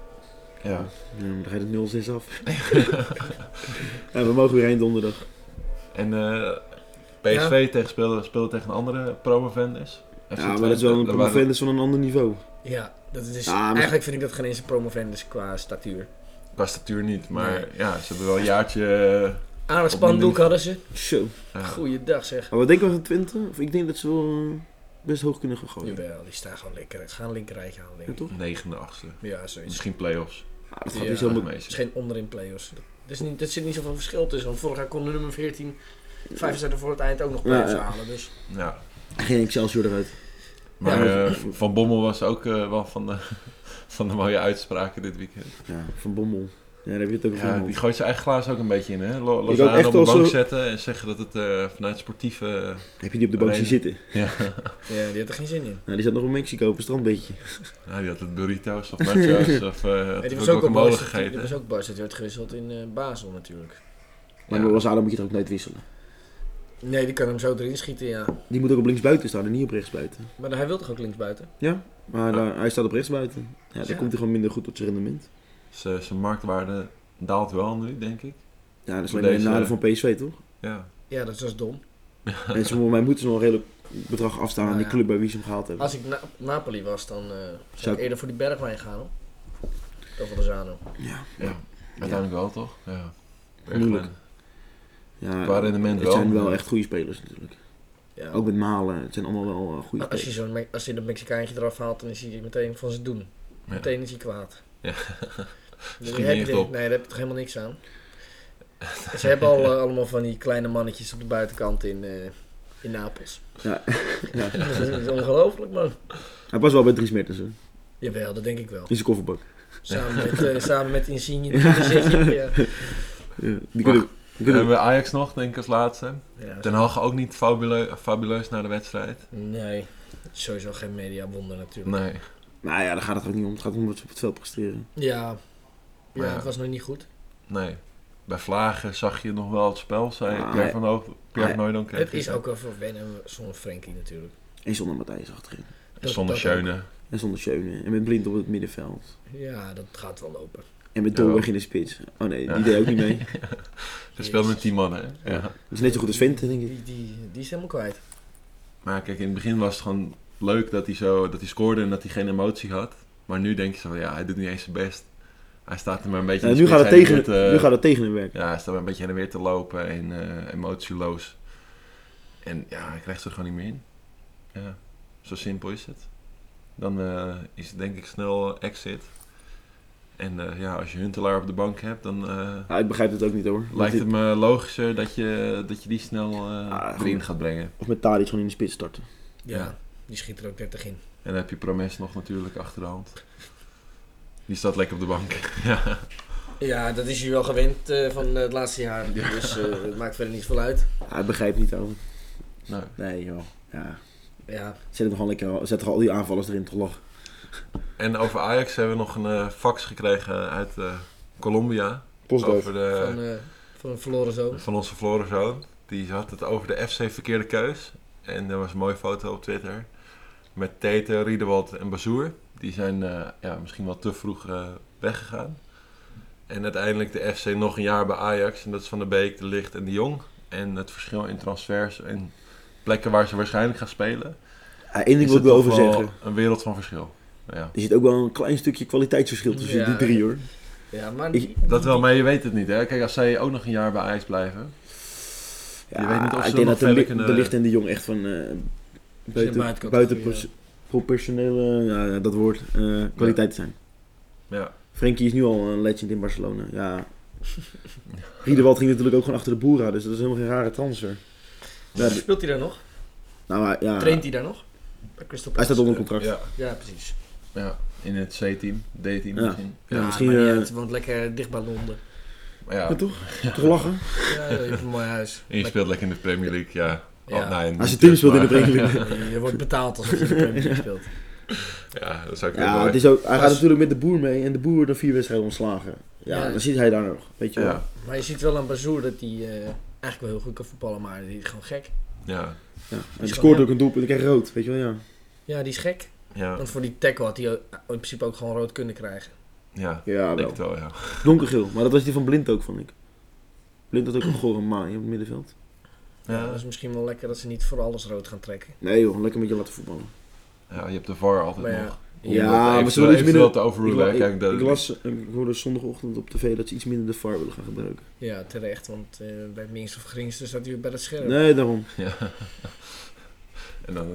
Ja. Ja, maar dan ga je het 0-6 af. ja, we mogen weer heen donderdag. En eh, PSV tegen speelde, speelde tegen een andere promovendus. Ja, maar dat is wel een promovendus van een ander niveau. Ja, dat is, Ah, maar- eigenlijk vind ik dat geen eens een promovendus qua statuur. Qua statuur niet, maar Nee. ja, ze hebben wel een jaartje... eh, Aan het Op mijn spandoek ding. hadden ze. Zo. Goeiedag zeg. Maar wat denken we van Twente? Of ik denk dat ze wel eh, best hoog kunnen gaan gooien. Jawel, die staan gewoon lekker. Ze gaan een linkerrijtje halen, denk Ja, ik. toch? Negende, achtste. Ja, zoiets. Misschien play-offs. Ah, dat gaat Ja. niet zo Nog met... Het meisje. is geen onderin play-offs. Er, is niet, er zit niet zoveel verschil tussen. Want vorig jaar kon de nummer 14 vijf zetten voor het eind ook nog play-offs Ja, ja. halen. Dus Ja. Geen Excelsior eruit. Maar Ja. eh, Van Bommel was ook eh, wel van de, van de mooie uitspraken dit weekend. Ja, van Bommel. Ja, daar heb je het ook over. Ja, die gooit zijn eigen glazen ook een beetje in, hè? Lo- ook Lozano echt op de wel bank zo- zetten en zeggen dat het eh, vanuit sportieve... eh, Heb je die op de bank zien Alleen- zitten? ja, ja, die had er geen zin in. Nou, die zat nog in Mexico op een strandbeetje. nou, die had het burritos of nachos of eh Ja, die had was ook ook op guacamole Barca. Die gegeten. was ook Barca. Die werd gewisseld in eh, Basel natuurlijk. Maar Ja. door Lozano moet je het ook nooit wisselen. Nee, die kan hem zo erin schieten, ja. Die moet ook op linksbuiten staan en niet op rechtsbuiten. Maar hij wil toch ook linksbuiten? Ja, maar daar, hij staat op rechtsbuiten. Ja, daar Ja. komt hij gewoon minder goed tot zijn rendement. Zijn zijn marktwaarde daalt wel nu, denk ik. Ja, dat is Voor alleen een deze- nadeel van PSV, toch? Ja. Ja, dat is, dat is dom. En ze, volgens mij moeten ze nog een redelijk bedrag afstaan aan Nou die ja. club bij wie ze hem gehaald hebben. Als ik Na- Napoli was, dan eh, zou Zou- ik eerder voor die Bergwijn gaan, hoor. Dan voor de Zano. Ja, Uiteindelijk wel, toch? Ja. Moeilijk. Bergwijn. ja Qua rendement het zijn wel. wel echt goede spelers natuurlijk. Ja. Ook met Malen, het zijn allemaal wel eh, goede Maar als je, spelers. zo'n Me- als je dat Mexicaantje eraf haalt, dan is hij meteen van zijn doen. Ja. Meteen is hij kwaad. Ja. Dus Schiet heb niet je, echt op. nee, daar heb je toch helemaal niks aan. Ze hebben al eh, allemaal van die kleine mannetjes op de buitenkant in, eh, in Napels. Ja. Ja. Dat is, dat is ongelooflijk, man. Hij past wel bij Dries Mertens hè, Jawel, dat denk ik wel. in zijn kofferbak. Samen met, eh, samen met Insigne. Dan zeg je, ja. Ja, die kunnen, die Dan kunnen, hebben we Ajax nog, denk ik, als laatste. Ja, Den Haag ook niet fabuleus, fabuleus naar de wedstrijd. Nee, sowieso geen mediawonder natuurlijk. Nee. nou ja, daar gaat het ook niet om. Het gaat om wat ze op het veld presteren. Ja. Ja, Maar ja. het was nog niet goed. Nee. Bij Vlagen zag je nog wel het spel, zei Ah, Pierre ja. van Hoog. Pierre Ah, van Hooijdonk kreeg het is het. ook wel verwennen zonder Frenkie natuurlijk. En zonder Matthijs achterin. En Dat- Zonder dat ook. Schöne. En zonder Schöne. En met Blind op het middenveld. Ja, dat gaat wel lopen. En met Dolweg in de spits. Oh nee, die Ja. deed ook niet mee. Ze speelde met tien mannen. hè? Ja. Dat is net zo goed als Vente, denk ik. Die, die, die is helemaal kwijt. Maar kijk, in het begin was het gewoon leuk dat hij, zo, dat hij scoorde en dat hij geen emotie had. Maar nu denk je zo van, ja, hij doet niet eens zijn best. Hij staat er maar een beetje... Nou, in nu, de gaat het spits heen en tegen, weer te- nu gaat het tegen hem werken. Ja, hij staat maar een beetje heen en weer te lopen en eh, emotieloos. En ja, hij krijgt ze er gewoon niet meer in. Ja, zo simpel is het. Dan eh, is het denk ik snel eh, exit. En eh, ja, als je Huntelaar op de bank hebt, dan eh, Ja, ik begrijp het ook niet hoor. lijkt Dat het me logischer dat je, dat je die snel eh, Ah, goed. erin gaat brengen. dit- Of met Tadic gewoon in de spits starten. Ja. Ja. Die schiet er ook 30 in. En dan heb je Promes nog natuurlijk achter de hand. Die staat lekker op de bank. ja. Ja, dat is je wel gewend eh, van eh, het laatste jaar. Dus eh, het maakt verder niet veel uit. Ja, ik begrijp niet hoor. Nou, Nee joh. Ja. Ja, Zet hem gewoon lekker, zet gewoon al die aanvallers erin te lachen. en over Ajax hebben we nog een eh, fax gekregen uit eh, Colombia. Postdoof. Over de, van, eh, van een verloren zoon. van onze verloren zoon. Die had het over de FC verkeerde keus. En er was een mooie foto op Twitter. Met Tete, Riedewald en Bazoer. Die zijn eh, ja, misschien wel te vroeg eh, weggegaan. En uiteindelijk de FC nog een jaar bij Ajax. En dat is Van de Beek, De Licht en De Jong. En het verschil in transfers en plekken waar ze waarschijnlijk gaan spelen. Ja, Eén ding is wil het ik wel toch over wel zeggen. een wereld van verschil. Ja. Er zit ook wel een klein stukje kwaliteitsverschil tussen Ja. die drie hoor. Ja, maar Ik- Dat wel, maar je weet het niet hè. Kijk, als zij ook nog een jaar bij Ajax blijven. Ja, weet niet of ze nog ik denk dat de, verder li- kunnen- de licht en de jong echt van eh buiten, buitencategorie, buiten ja. pers- proportionele, ja, dat woord, eh, kwaliteit zijn. Ja, Frenkie is nu al een legend in Barcelona. Ja. Riedewald ging natuurlijk ook gewoon achter de boer aan, dus dat is helemaal geen rare transfer. Ja, d- speelt hij daar nog? nou, maar ja, Traint hij daar nog? Bij Crystal hij Palace. staat onder contract. ja, Ja, precies. ja. in het C-team, D-team Ja. misschien. Ja, Ja, misschien, maar niet eh, uit, want lekker dicht bij Londen. Maar ja, Ja, toch? Toch lachen? Ja, je hebt een mooi huis. En je speelt lekker in de Premier League, ja. Ja. Oh, nee, Als je niet team dus, speelt in de maar- Premier League. Lekker- Je wordt betaald als je in de Premier League speelt. Ja, dat zou ik Ja, wel het doen. is ook, hij gaat Als- natuurlijk met de boer mee en de boer wordt dan vier wedstrijden ontslagen. Ja, Ja. dan zit hij daar nog, weet je wel. Ja, Maar je ziet wel aan Bazoer dat hij eh, eigenlijk wel heel goed kan voetballen, maar die is gewoon gek. ja, Ja. Hij scoort ook een doelpunt en krijgt rood, weet je wel, ja. Ja, die is gek. ja, Want voor die tackle had hij ook- in principe ook gewoon rood kunnen krijgen. ja. Ja, Ik denk wel. het wel, ja. Donkergeel, maar dat was die van Blind ook, vond ik. Blind had ook een gore maai op het middenveld. Ja. ja. Dat is misschien wel lekker dat ze niet voor alles rood gaan trekken. Nee joh, lekker met je laten voetballen. Ja, je hebt de VAR altijd Maar ja. nog. Ja, maar ze willen willen iets minder- te Ik, overrulen, hè. la- ik- Kijk, dat... ik las, ik hoorde zondagochtend op tv dat ze iets minder de VAR willen gaan gebruiken. Ja, terecht, want eh, bij het minst of geringste staat hij weer bij dat scherm. Nee, daarom. Ja. En dan...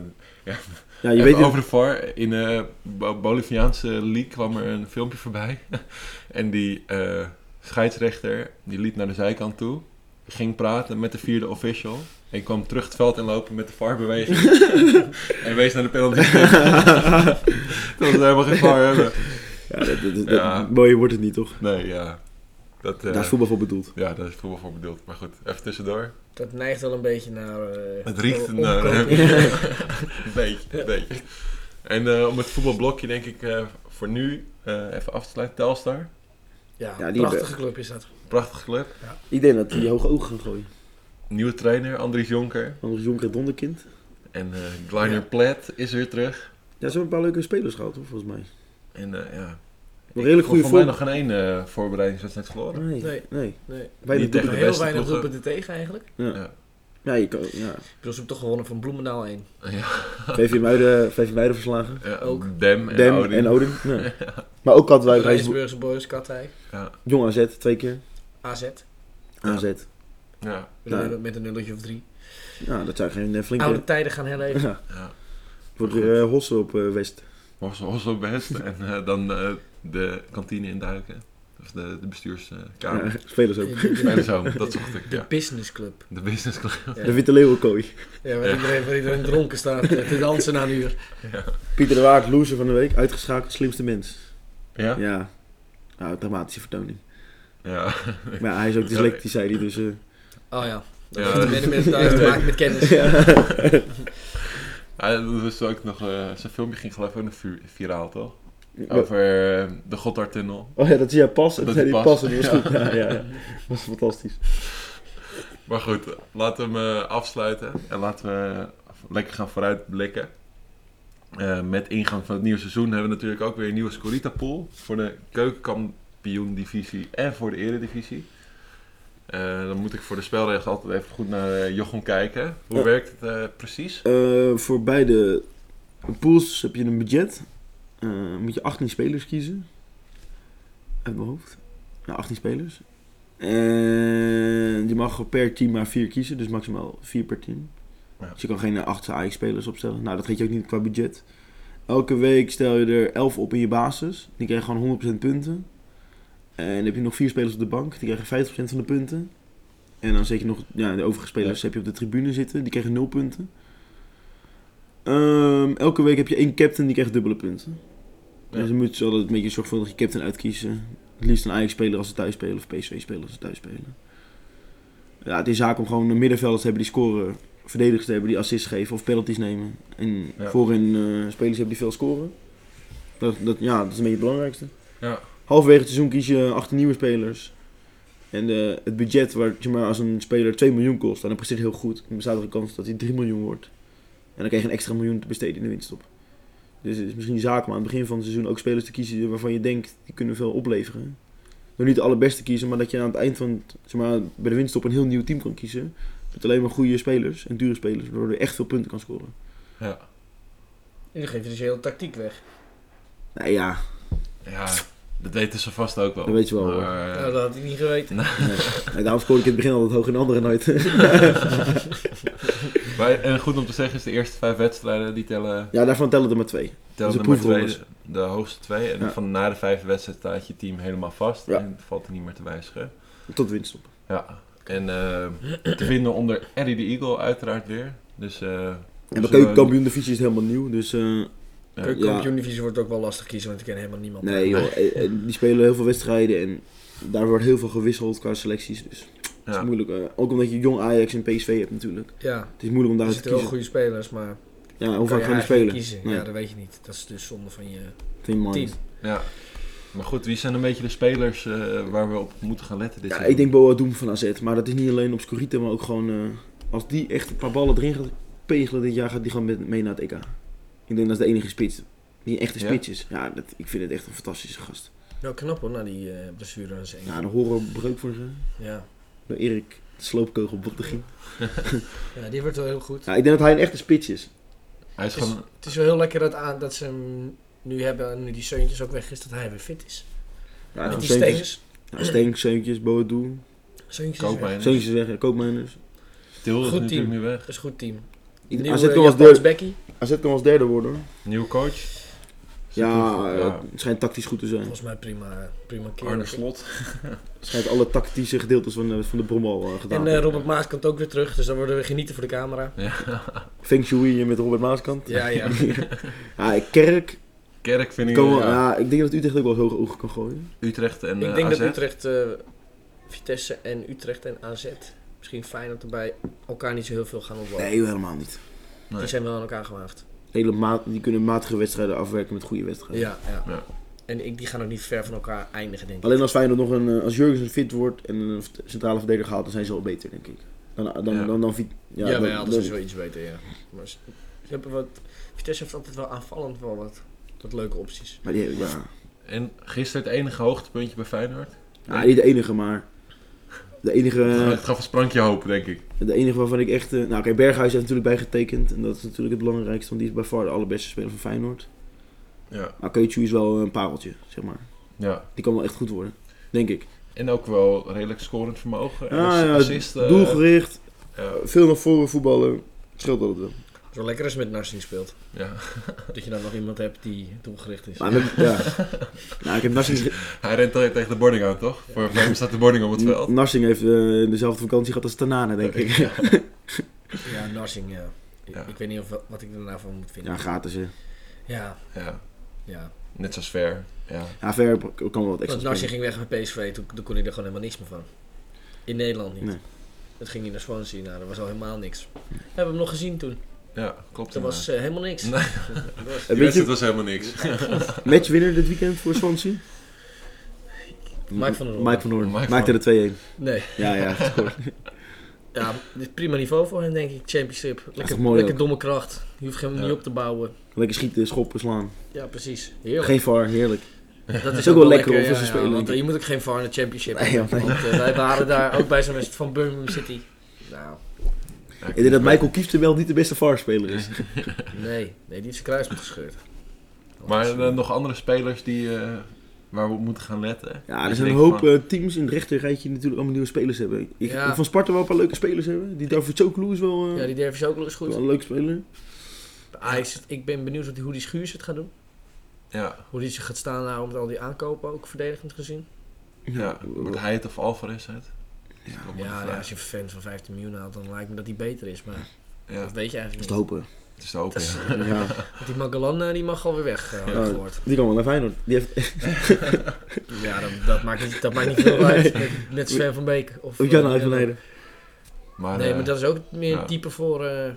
Ja, je weet over de VAR, in de Bo- Boliviaanse league kwam er een filmpje voorbij. en die eh, scheidsrechter, die liep naar de zijkant toe. Ging praten met de vierde official. En kwam terug het veld inlopen met de VAR-beweging. en wees naar de penalty. dat we helemaal geen VAR hebben. Ja, dat, dat, dat- Ja. Mooier wordt het niet, toch? Nee, ja. Dat, eh, Daar is voetbal voor bedoeld. ja, daar is voetbal voor bedoeld. Maar goed, even tussendoor. Dat neigt wel een beetje naar... eh, Het riekt om- een, eh, omkoping. een beetje, een beetje. En eh, om het voetbalblokje denk ik eh, voor nu eh, even af te sluiten. Telstar, Ja, Ja, een die prachtige club is dat. prachtige club. Ik denk dat hij hoge ogen gaan gooien. Nieuwe trainer, Andries Jonker. Anders Jonker Donderkind. En eh Gleiner Platt is weer terug. Ja, ze hebben een paar leuke spelers gehad, hoor, volgens mij. En eh, ja. Nog redelijk goede voor mij vorm. nog geen één eh, voorbereidingswedstrijd verloren. Nee, nee. Nee. nee. Nee. Wij Niet doen echt. het. beste Heel weinig ploegen. roepen er tegen eigenlijk. Ja, je kan, ja. Ik bedoel, ze hebben toch gewonnen van Bloemendaal 1. VV Muiden, VV Muiden verslagen. Ja, eh, Ook. Dem en Dem Odin. en Odin. Ja. Maar ook Katwijk, Rijnsburg, Rijsburgse Boys, Katwijk, Jong AZ, twee keer. AZ. Ja. AZ. Ja, Nou. Met een nulletje of drie. Ja, dat zijn geen eh, Oude flinke... tijden gaan herleven. Ja. ja. Wordt weer eh, hossen op eh, West. Was, was wel best. En eh, dan eh, de kantine induiken. Of de, de Ja, bestuurskamer. spelers ook. En De, zo, dat zocht ik. de Ja. business club. De business club. Ja. De Witte Leeuwenkooi. Ja, waar, Iedereen, waar iedereen dronken staat eh, te dansen na een uur. Pieter de Waard, loser van de week. Uitgeschakeld, slimste mens. Ja? Ja. Nou, dramatische vertoning. Ja. Maar ja, hij is ook dyslectisch, zei hij, dus... eh, Oh ja. Dat Ja. heeft de mensen mensen thuis te maken met kennis. Ja, dat is ook nog, eh, zijn filmpje ging geloof ik ook nog vi- viraal, toch? ja. Over eh, de Gotthardtunnel. Oh ja, dat zie jij pas. En Dat dat zei die hij pas. pas, en dat was goed. Ja, ja, ja. Dat was fantastisch. Maar goed, laten we hem eh, afsluiten. En laten we lekker gaan vooruitblikken. Eh, met ingang van het nieuwe seizoen hebben we natuurlijk ook weer een nieuwe Scorita pool. Voor de keukenkampioen divisie en voor de eredivisie. Eh, dan moet ik voor de spelregels altijd even goed naar eh, Jochem kijken. Hoe Ja. werkt het eh, precies? Eh, voor beide pools heb je een budget. Eh, moet je 18 spelers kiezen. Uit mijn hoofd. Nou, 18 spelers. En je mag per team maar 4 kiezen, dus maximaal 4 per team. Ja. Dus je kan geen 8 Ajax-spelers opstellen. Nou, dat geeft je ook niet qua budget. Elke week stel je er 11 op in je basis. Die krijgen gewoon 100% punten. En dan heb je nog 4 spelers op de bank. Die krijgen 50% van de punten. En dan zet je nog, ja, de overige spelers heb je op de tribune zitten. Die krijgen 0 punten. Ehm, elke week heb je één captain die krijgt dubbele punten. Ja. Dus dan moet je altijd een beetje zorgvuldig je captain uitkiezen. Het liefst een Ajax-speler als ze thuis spelen of PSV-speler als ze thuis spelen. Ja, het is zaak om gewoon middenvelders te hebben die scoren, verdedigers te hebben die assists geven of penalties nemen. En Ja. voorin eh, spelers hebben die veel scoren. Dat, dat, ja, dat is een beetje het belangrijkste. Ja. Halverwege het seizoen kies je 18 nieuwe spelers. En eh, het budget waar je maar als een speler 2 miljoen kost, en dat presteert heel goed, dan bestaat er een kans dat hij 3 miljoen wordt. En dan krijg je een extra miljoen te besteden in de winststop. Dus het is misschien zaak om aan het begin van het seizoen ook spelers te kiezen waarvan je denkt die kunnen veel opleveren. Door niet de allerbeste te kiezen, maar dat je aan het eind van het- zeg maar, bij de winststop een heel nieuw team kan kiezen. Met alleen maar goede spelers en dure spelers, waardoor je echt veel punten kan scoren. Ja. Nu geef je dus je hele tactiek weg. Nou ja, ja, dat weten ze vast ook wel. Dat weet je wel, Maar, eh, Nou, dat had ik niet geweten. nee, daarom scoorde ik in het begin altijd hoog en anderen nooit. eh, maar- en goed om te zeggen is de eerste vijf wedstrijden die tellen ja, daarvan tellen er maar twee. Tel Dus de nummer twee, proefrondes. de hoogste twee. En Ja. van na de vijfde wedstrijd staat je team helemaal vast. Ja. En valt er niet meer te wijzigen. Tot winststop. Ja. En eh, te vinden onder Eddie de Eagle uiteraard weer. Dus eh En Dus, bij eh, keukenkampioen-divisie is het helemaal nieuw, dus... eh, Keukenkampioen divisie wordt ook wel lastig kiezen, want ik ken helemaal niemand. nee joh, eh, eh, die spelen heel veel wedstrijden en daar wordt heel veel gewisseld qua selecties, dus het is ja, moeilijk. eh, ook omdat je jong Ajax en PSV hebt natuurlijk. Ja, Het is moeilijk om er daaruit te zitten wel kiezen. goede spelers, maar Ja, hoe kan je vaak gaan die eigenlijk spelen? kiezen? Nee, Ja, dat weet je niet. Dat is dus zonde van je vind ik team. mooi. ja. Maar goed, wie zijn een beetje de spelers eh, waar we op moeten gaan letten dit Ja, seizoen? ik denk Boa Doem van AZ, maar dat is niet alleen op Scorita, maar ook gewoon... eh, als die echt een paar ballen erin gaat pegelen dit jaar, gaat die gewoon met, mee naar het EK. Ik denk dat is de enige spits, die een echte Ja? spits is. Ja, dat, ik vind het echt een fantastische gast. Nou, knap hoor, na die eh, blessure aan zijn enkel. Ja, de horrorbreuk voor ze, Ja. door Erik de sloopkogel op de ging. ja, die wordt wel heel goed. Ja, ik denk dat hij een echte spits is. Hij is Het is, gewoon... het is wel heel lekker dat, aan, dat ze hem nu hebben, en nu die Seuntjes ook weg is, dat hij weer fit is. Ja, Met die Steenk- Steenkes. Ja, Steenk, Seuntjes, Boadu. Seuntjes is weg. Koopmijn. Seuntjes is weg, ja, Koopmeiners. Til is Goed natuurlijk team. nu weg. Dat is een goed team. Ieder- Nieuwe AZ kan, eh, als Japans derde, Becky. AZ kan als derde worden. hoor. Nieuwe coach. Ja, eh, ja. het schijnt tactisch goed te zijn. Volgens mij prima, prima keer. Arne Slot. Het schijnt alle tactische gedeeltes van, eh, van de brommel eh, gedaan. En eh, Robert Maas komt ook weer terug, dus dan worden we genieten voor de camera. Feng Shui eh, met Robert Maaskant. Ja, ja. Ja, Kerk. Kerk vind ik... Kan wel, ja. ja, ik denk dat Utrecht ook wel hoge ogen kan gooien. Utrecht en ik eh, denk AZ. dat Utrecht, eh, Vitesse en Utrecht en AZ, misschien Feyenoord erbij, elkaar niet zo heel veel gaan opbouwen. Nee, helemaal niet. nee. Die zijn wel aan elkaar gewaagd. Hele maat, die kunnen matige wedstrijden afwerken met goede wedstrijden. Ja, ja. Ja. En ik, die gaan ook niet ver van elkaar eindigen, denk ik. Alleen als Feyenoord nog een, eh, als Jurgensen fit wordt en een v- centrale verdediger haalt, dan zijn ze al beter, denk ik. Dan, dan, dan, Ja. dan, Vi- Ja, ja, ja dan- wij hadden dan- sowieso iets beter, ja. Maar ze, ze hebben wat, Vitesse heeft altijd wel aanvallend wel wat, wat leuke opties. maar die, ja. En gisteren het enige hoogtepuntje bij Feyenoord. Ja, niet de enige, maar... De enige, eh, het gaf een sprankje hoop, denk ik. de enige waarvan ik echt... eh, Nou, kijk, Berghuis heeft natuurlijk bijgetekend. En dat is natuurlijk het belangrijkste, want die is bij far de allerbeste speler van Feyenoord. Ja. Maar Keuchu is wel een pareltje, zeg maar. ja. Die kan wel echt goed worden, denk ik. En ook wel redelijk scorend vermogen. En Ja, ass- Ah, ja, assist, eh, doelgericht, ja, veel naar voren voetballen. Scheelt dat wel. Zo lekker als je met Narsing speelt. ja. Dat je dan nog iemand hebt die doelgericht is. Maar we hebben- ja. nou, ik heb Narsing, Hij rent tegen tegen de boarding aan, toch? Voor voor hem staat de boarding op het veld. Narsing heeft eh, dezelfde vakantie gehad als Tanane, denk ik. Ja, Ja, Narsing, ja. Ik, Ja. ik weet niet of, wat ik daarna van moet vinden. gratis hè. ja. Ja. ja. Net zoals ver. Ja. Ja, ver kan wel wat extra Want Narsing spelen. ging weg bij PSV, toen, toen kon hij er gewoon helemaal niks meer van. In Nederland niet. Nee. Dat ging hij naar Swansea, nou, dat was al helemaal niks. We hebben hem nog gezien toen. ja, klopt. Dat was eh, helemaal niks. Nee. Dat was- Eh, Die wedstrijd Weet je, was helemaal niks. matchwinner dit weekend voor Swansea? Mike van der Hoorn. Mike van Hoorn. Mike van- Maakte er 2-1. Nee. Ja, ja, gescoord. Ja, dit is prima niveau voor hen, denk ik. Championship. Lekker, toch mooi lekker ook. domme kracht. Je hoeft hem Ja. niet op te bouwen. Lekker schieten, schoppen, slaan. Ja, precies. Heerlijk. Geen var, heerlijk. dat is ook wel lekker om voor ze spelen, want denk ik. je moet ook geen VAR in de championship Nee, hebben. joh, nee. Want eh, wij waren daar ook bij zo'n wedstrijd van Birmingham City. Nou, Ik denk dat Michael Kieften wel niet de beste var-speler is. nee. Nee, die is kruisband gescheurd. Maar eh, nog andere spelers die, eh, waar we op moeten gaan letten. Ja, er Ik zijn een denk hoop van- eh, teams in het rechterrijtje die natuurlijk allemaal nieuwe spelers hebben. Ik, ik Ja. vind van Sparta wel een paar leuke spelers hebben. Die David Choklu is wel, eh, Ja, die derf is ook wel eens wel goed. een leuk speler. Ajax, ik ben benieuwd wat die- hoe die Schuurs het gaat doen. Ja, Hoe die zich gaat staan nou, met al die aankopen, ook verdedigend gezien. ja. Wordt hij het of Alvarez het? Ja, Ja, nou, als je een fan van 15 miljoen haalt, dan lijkt me dat die beter is. Maar ja. dat weet je Dat is eigenlijk te niet. hopen. Het is de hoop, Dat is- ja. Ja. Want Die Magalan, eh, die mag alweer weg, eh, had ik Ja. gehoord. Die kan wel naar Feyenoord. Die heeft, Ja, dat, dat, maakt niet, dat maakt niet veel uit. Net, net Sven van Beek. Of, of Jan eh, uit van Heijden. Maar, Nee, eh, maar dat is ook meer ja. type voor, eh,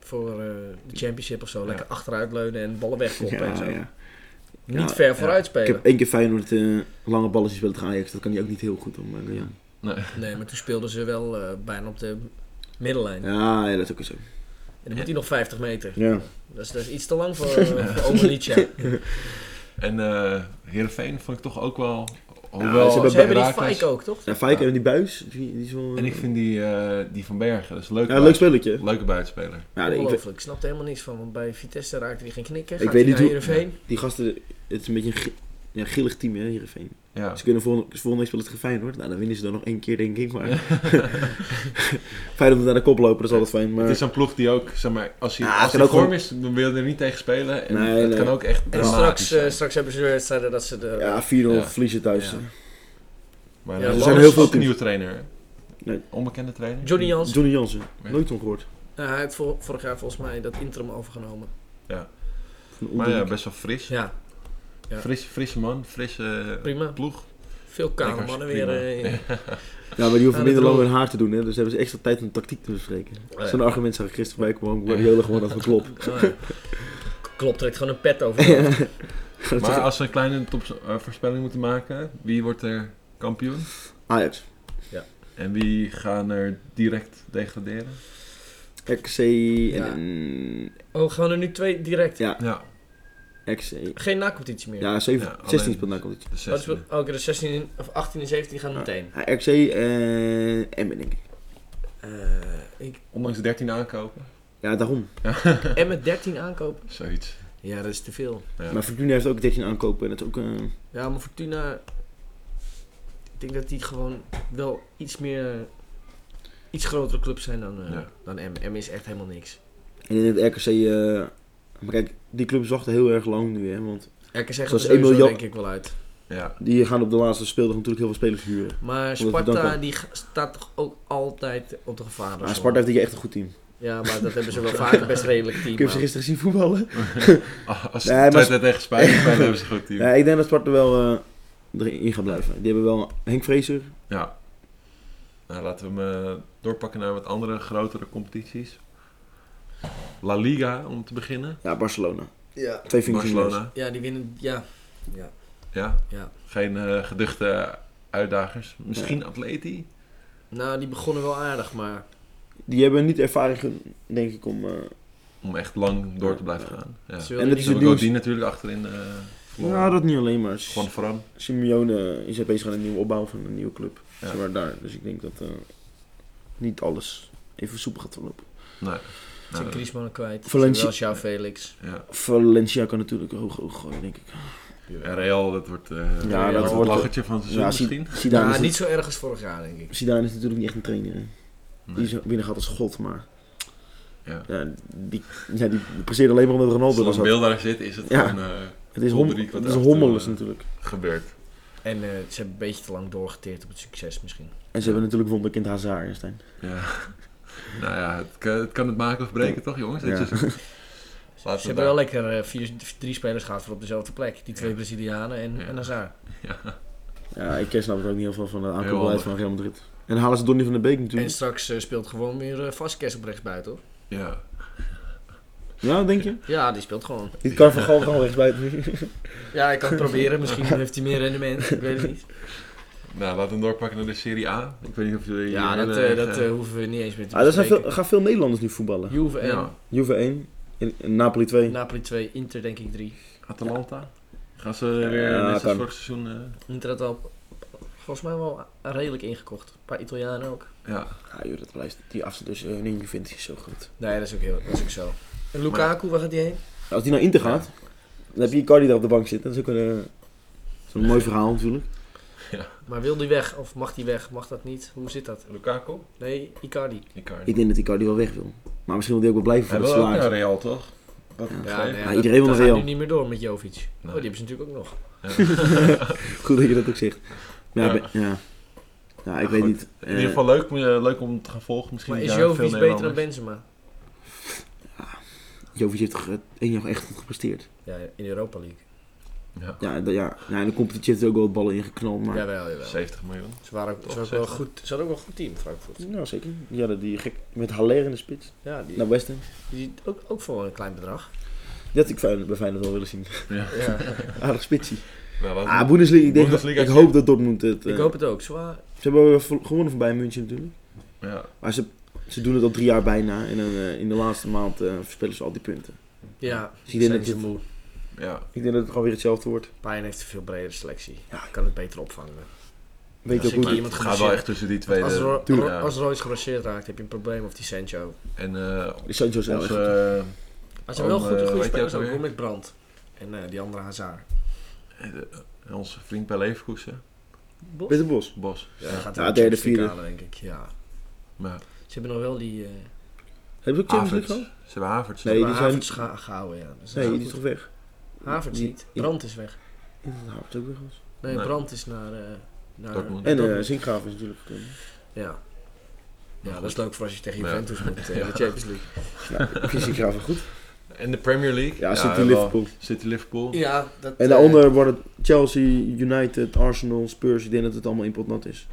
voor eh, de championship of zo. Lekker achteruit leunen en ballen wegkoppen en zo. Ja, ja. Niet Ja, ver vooruit spelen. Ik heb één keer Feyenoord eh, lange ballen gespeeld tegen Ajax. dus Dat kan hij ook niet heel goed om. eh, ja. nee. Nee, maar toen speelden ze wel eh, bijna op de middenlijn. Ja, ja, dat is ook zo. En dan moet hij nog 50 meter. Ja. Dat is, dat is iets te lang voor, eh, voor Omelietje. En eh Heerenveen vond ik toch ook wel... Ja, Hoewel, Nou, ze hebben- Ze hebben die Raakles- Fike ook, toch? Ja, Fijker en die buis. Die, die is wel, eh, En ik vind die, eh, die van Bergen, dat is een leuke, ja, leuk buiten- spelletje. leuke buitenspeler. Ja, nee, ik, Ongelooflijk. weet- Ik snap er helemaal niks van. Want bij Vitesse raakte hij geen knikken. Ik Gaat weet hij niet naar hoe- Heerenveen? die gasten, het is een beetje een gi- ja, gillig team, hè, Heerenveen. Ja. Ze kunnen volgende, volgende week spelen tegen Feyenoord. Nou, dan winnen ze dan nog één keer, denk ik. Maar Feyenoord moet naar de kop lopen, dat is altijd fijn. Maar Het is een ploeg die ook, zeg maar, als hij Ja, het als kan hij ook vorm wel- is, dan wil je er niet tegen spelen. En Nee, het nee. kan ook echt En dramatisch straks, eh, zijn. straks hebben ze weer wedstrijden dat ze de... ja, 4-0 Ja. verliezen thuis. Ja. Maar Ja, eh, er Lars zijn is heel ook veel een teams. nieuwe trainer. hè? Nee. Onbekende trainer. Johnny Jans. Johnny Jansen, Ja. nooit ongehoord. Nou, hij heeft vor- vorig jaar volgens mij dat interim overgenomen. Maar ja, best wel fris. Ja, Ja. Fris, frisse man, frisse eh, prima. ploeg. Veel kale mannen weer. Lekker, eh, in. Ja, maar die hoeven Ja, minder dat lang wel. hun haar te doen, hè. Dus hebben ze extra tijd om tactiek te bespreken. ja. Zo'n argument zag ik gisteren bij komen, Guardiola gewoon dat we klopt. Oh, ja. Klopt, trekt gewoon een pet over. je hoofd. Maar als we een kleine top, eh, voorspelling moeten maken, wie wordt er kampioen? Ajax, En wie gaan er direct degraderen? RKC Ja. en... Oh, gaan er nu twee direct? Ja. Ja, RKC... Geen nacompetitie meer. Ja, 7, Ja, alleen- 16 speelt na competitie. de Oh, dus we- zesde. oh, oké, de 16 en- of 18 en 17 gaan meteen. Ja, RKC en Emmen, denk ik. Eh ik, Ondanks 13 aankopen. Ja, daarom. en met 13 aankopen? Zoiets. Ja, dat is te veel. Ja. Maar Fortuna heeft ook 13 aankopen en dat is ook... eh, Ja, maar Fortuna... Ik denk dat die gewoon wel iets meer... Iets grotere clubs zijn dan, eh Ja. dan M. M is echt helemaal niks. En in het RKC... eh, maar kijk, die clubs wachten heel erg lang nu, hè. Want RKC gaat er Zoals sowieso Emil Jan- denk ik wel uit. ja. die gaan op de laatste speeldag natuurlijk heel veel spelers huren. Maar Omdat we dan Sparta kan- die g- staat toch ook altijd op de gevaarlijke Maar zone? Sparta heeft dit jaar echt een goed team. Ja, maar dat hebben ze wel vaak best redelijk team. Ik heb ze maar- gisteren gezien voetballen. Ah, Als Nee, maar- ze Twente tegen Spanje spelen, hebben ze een goed team. Ja, ik denk dat Sparta wel eh, erin gaat blijven. Die hebben wel Henk Vrezer. Ja. Nou, laten we hem eh, doorpakken naar wat andere grotere competities. La Liga, om te beginnen. Ja, Barcelona. Ja. Twee functies. Barcelona. ja, die winnen. Ja. ja. Ja. Ja. Geen eh, geduchte uitdagers. Misschien Atleti? Nou, die begonnen wel aardig, maar Die hebben niet ervaring, gen- denk ik, om... eh, Om echt lang door te blijven gaan. Ja. ze Ze wilden dat niet is zo- het hebben ook nieuws. die natuurlijk achterin eh verloren. nou, dat niet alleen, maar S- Van Fram. Simeone is bezig aan een nieuwe opbouw van een nieuwe club. Ja. Zeg maar daar. Dus ik denk dat eh, niet alles even soepel gaat verlopen. Nee. zijn Nou, Griezmann kwijt. Valencia- Valencia. Wel Felix. ja. Valencia kan natuurlijk hoog hoog gooien, denk ik. En Real, dat wordt, eh Ja, dat het wordt- lachertje van het seizoen Ja, dus misschien. Zidane, Ja, is niet zo erg als vorig jaar, denk ik. Zidane is natuurlijk niet echt een trainer. hè. Die is binnen gaat als god, maar... Ja. Ja, die, ja, die presteert alleen maar omdat Ronaldo Als was. een beeld daar zit, is het Ja. gewoon eh, Het is, Vol hom, drie het is kwadraten, hommeles eh. natuurlijk. gebeurd. En eh, ze hebben een beetje te lang doorgeteerd op het succes misschien. En ze hebben natuurlijk wonderkind Hazard, hè, Stijn. Ja. nou ja, het, kan- het kan het maken of breken toch jongens? Ja. Dit seizoen. Laten we Ze hebben daar- wel lekker eh, vier, drie spelers gehad voor op dezelfde plek. Die twee Ja. Brazilianen en, Ja. en Hazard. Ja, ik eh, snap het ook niet heel veel van de handig. aankoopbeleid van Real Madrid. En dan halen ze Donny van der Beek En natuurlijk. straks eh, speelt gewoon weer eh, Vasquez op rechtsbuiten, hoor. Ja. Ja, denk je? Ja, die speelt gewoon. Dit kan van Gaal gewoon rechtsbuiten. Ja, ik kan het proberen. Misschien heeft hij meer rendement. Ik weet het niet. Nou, laten we hem doorpakken naar de Serie A. Ik weet niet of jullie... Ja, jullie dat, eh, hebben dat echt, eh, eh, hoeven we niet eens meer te Ah, er zijn bespreken. veel, gaan veel Nederlanders nu voetballen. Juve 1, ja. Juve 1, en- en Napoli 2. Napoli 2, Inter denk ik 3. Atalanta. Gaan ze weer Ja, net als kan. vorig seizoen... eh, Inter had al volgens mij wel a- redelijk ingekocht. Een paar Italianen ook. ja. Ja, ah, joh, dat lijst, die afstand tussen hun en Juventus is zo goed. Nee, dat is ook, heel, dat is ook zo. En Lukaku, waar gaat die heen? Als die naar Inter gaat, dan heb je Icardi daar op de bank zitten. Dat is ook een, eh, zo'n mooi verhaal natuurlijk. Maar wil die weg? Of mag die weg? Mag dat niet? Hoe zit dat? Lukaku? Nee, Icardi. Icardi. Ik denk dat Icardi wel weg wil. Maar misschien wil hij ook wel blijven Hij voor het wil ook salaris. naar Real, toch? Wat Ja. ja, nee, Ja, iedereen wil dat naar gaat Real. nu niet meer door met Jovic. Oh, Nee. die hebben ze natuurlijk ook nog. Goed dat je dat ook zegt. Ja, Ja. ben- ja. ja ik Ja, weet goed. niet. In ieder geval leuk, eh, leuk om te gaan volgen. Misschien Maar dit is jaar veel Jovic beter dan Nederlanders. Benzema? Jovic heeft toch eh, één jaar echt goed gepresteerd. Ja, in de Europa League. Ja, en da- ja. ja in de competitie heeft hij ook wel wat ballen ingeknald. Maar... Jawel, jawel. 70 miljoen. Ze waren ook, Toch, ze waren ook wel zeker. goed, ze hadden ook wel een goed team, Frankfurt. Ja, Nou, zeker. Ja, dat die gek met Haller in de spits. Ja, die, Naar West Ham. die ook, ook voor een klein bedrag. Dat had ik Feyenoord- bij Feyenoord wel willen zien. Ja. Aardig spitsie. Nou, laten we- Ah, Bundesliga. Ik, denk dat, Bundesliga ik shit. hoop dat Dortmund het... eh, Ik hoop het ook. Zwaar. Ze hebben wel ver- gewonnen van Bayern München natuurlijk. ja. Maar ze, ze doen het al drie jaar bijna. En dan, eh, in de laatste maand eh, verspillen ze al die punten. Ja, ik denk zijn dat ze dit- moe. ja. Ik denk dat het gewoon weer hetzelfde wordt. Bayern heeft een veel bredere selectie. Ja. Kan het beter opvangen. Weet Ja, je ook zeker. hoe... iemand Het gaat wel geblesseerd- echt tussen die twee. Als, Ro tuurlijk. Ro- als Royce geblesseerd raakt, heb je een probleem. Of die Sancho. En eh Is Sancho zelf onze echt goed. eh, Maar ze hebben Om, wel goed, eh, goede weet je ook spelers ook. alweer? Hoe met Brand. En eh, die andere Hazard. eh, onze vriend bij Leverkusen, Bos? Peter Bos. Bos. Ja, die gaat Ja, in de derde, Champions vierde. League halen, denk ik. Ja. Maar Ze hebben nog wel die... eh Hebben ze ook Champions Havertz. League gehad? Ze hebben Havertz. Nee, die zijn- Havertz ga- gehouden, ja. Dus Nee, ja, die is goed. toch weg? Havertz die- niet. die- Brand is weg. Ik denk dat Havertz ook weg was. Nee, Nee. Brand is naar... eh, naar Dortmund. En eh Dortmund. Zinkgraaf is natuurlijk... eh, Ja. Ja, Maar dat is leuk voor als je tegen Ja. Juventus moet eh, in Ja. de Champions League. ik vind Zinkgraaf wel goed. En de Premier League. Ja, City wel. Liverpool. City Liverpool. Ja, dat, En daaronder Eh, worden Chelsea, United, Arsenal, Spurs. Ik denk dat het allemaal in potnat is.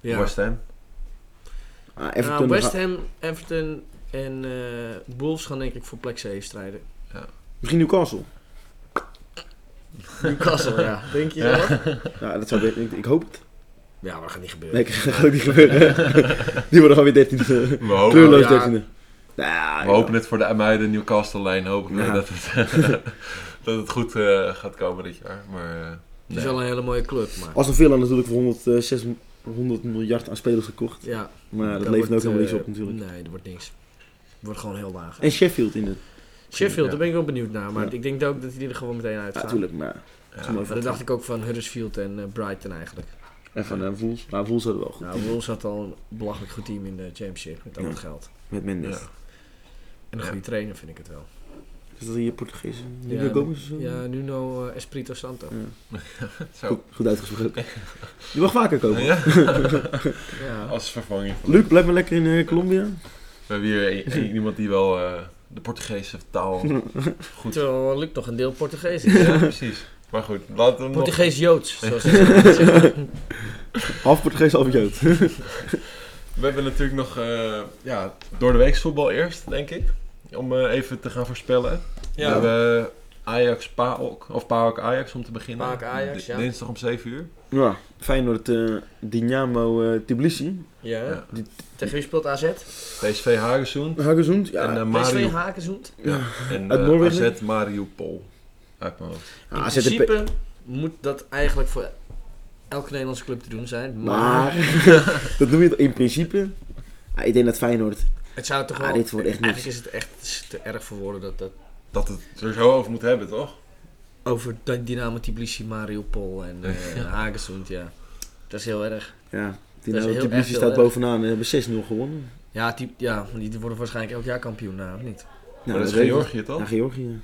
ja. West Ham. Ah, Nou, Everton West ga- Ham, Everton en eh Wolves gaan denk ik voor plek 7 strijden. Misschien Newcastle. Newcastle, ja. Denk je wel? Ja, Ja, dat zou ik, ik, ik hoop het. maar dat gaat niet gebeuren. Nee, dat gaat ook niet gebeuren. Die worden gewoon weer 13e. We hopen, Kleurloos ja. 13e. Nou, we hopen het voor de Amuiden Newcastle lijn. Hopen we Ja. dat, het, dat het goed eh, gaat komen dit jaar. Maar eh, Het is wel een hele mooie club, maar... Aston Villa natuurlijk voor 106 100 miljard aan spelers gekocht. Ja, Maar dat, daar levert ook wordt, helemaal niks eh, op natuurlijk. Nee, dat wordt niks. Het wordt gewoon heel laag. En Sheffield in het. Sheffield, Ja. daar ben ik wel benieuwd naar. Maar Ja. ik denk ook dat die er gewoon meteen uit Ja, gaan. natuurlijk, maar. Ja. Ja, maar dat dacht ik ook van Huddersfield en eh, Brighton eigenlijk. En van eh, Voels. Maar Voels hadden wel goed. Nou, Wolves had al een belachelijk goed team in de championship met al Ja. dat geld. Met Mendes. Ja. En een Ja. goede trainer vind ik het wel. Is dat hier Portugees? Ja, Ja, nu komen ze zo. Ja, Nuno eh, Espirito Santo. zo. Goed, goed uitgesproken. Je mag vaker komen. Ja, Oh, Ja. als vervanging. van- Luc, blijf maar lekker in eh, Colombia. We hebben hier e- e- iemand die wel eh, de Portugese taal goed... Terwijl Luc nog een deel Portugees is. Ja, precies. Maar goed, laten we hem nog... Portugees-Joods, zoals ze dat zeggen. Half Portugees, half Jood. We hebben natuurlijk nog eh, ja, door de week voetbal eerst, denk ik. Om eh, even te gaan voorspellen. We hebben Ajax PAOK, of PAOK Ajax om te beginnen. PAOK Ajax, Di- ja. Dinsdag om 7 uur. Ja, Feyenoord eh Dynamo eh, Tbilisi. Ja. Ja. Die- Tegen wie speelt AZ? PSV Hagenzoen. Hagezoend. Ja, en eh, PSV Mario, Hakenzoend. en uit eh, Noorwegen. AZ Mariupol. Uit mijn hoofd. Ah, In AZ en P- principe moet dat eigenlijk voor elke Nederlandse club te doen zijn. Maar Maar, dat noem je het in principe. Ah, ik denk dat Feyenoord. het zou toch Ah, wel... dit wordt echt niks. eigenlijk is het echt het is te erg voor woorden dat, dat Dat het er zo over moet hebben, toch? over Dy- Dynamo Tbilisi, Mariupol en eh Hagenzoend, ja. Dat is heel erg. Ja, heel- Dynamo echt Tbilisi heel staat erg. bovenaan en hebben 6-0 gewonnen. Nou, Ja, die, ja, die worden waarschijnlijk elk jaar kampioen, nou, of niet? maar dat is weet ik. Georgië, Ja, toch? Georgië.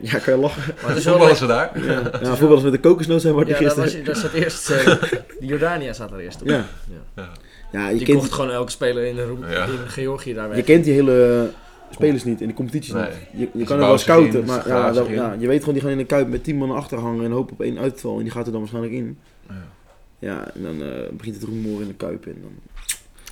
Ja, kan je lachen. Maar het is wel Voetballen leuk. ze daar? Ja, ja voetballers met de kokosnoot zijn waar die Ja, dat, gisteren. was, dat zat eerst... eh, Jordania zat er eerst op. Ja. Ja. Ja, je, Die kent, kocht gewoon elke speler in, de Roem- Ja. in Georgië daar je weg. kent die hele spelers niet en de competities Nee. niet. Je, je Ze kan er wel bouwen zich in, scouten, ze maar ja, graven dat- zich in. ja, je weet gewoon die gaan in een kuip met 10 man achter hangen en hopen op één uitval en die gaat er dan waarschijnlijk in. Ja. Ja, en dan eh, begint het rumoer in de kuip en Ah, dan...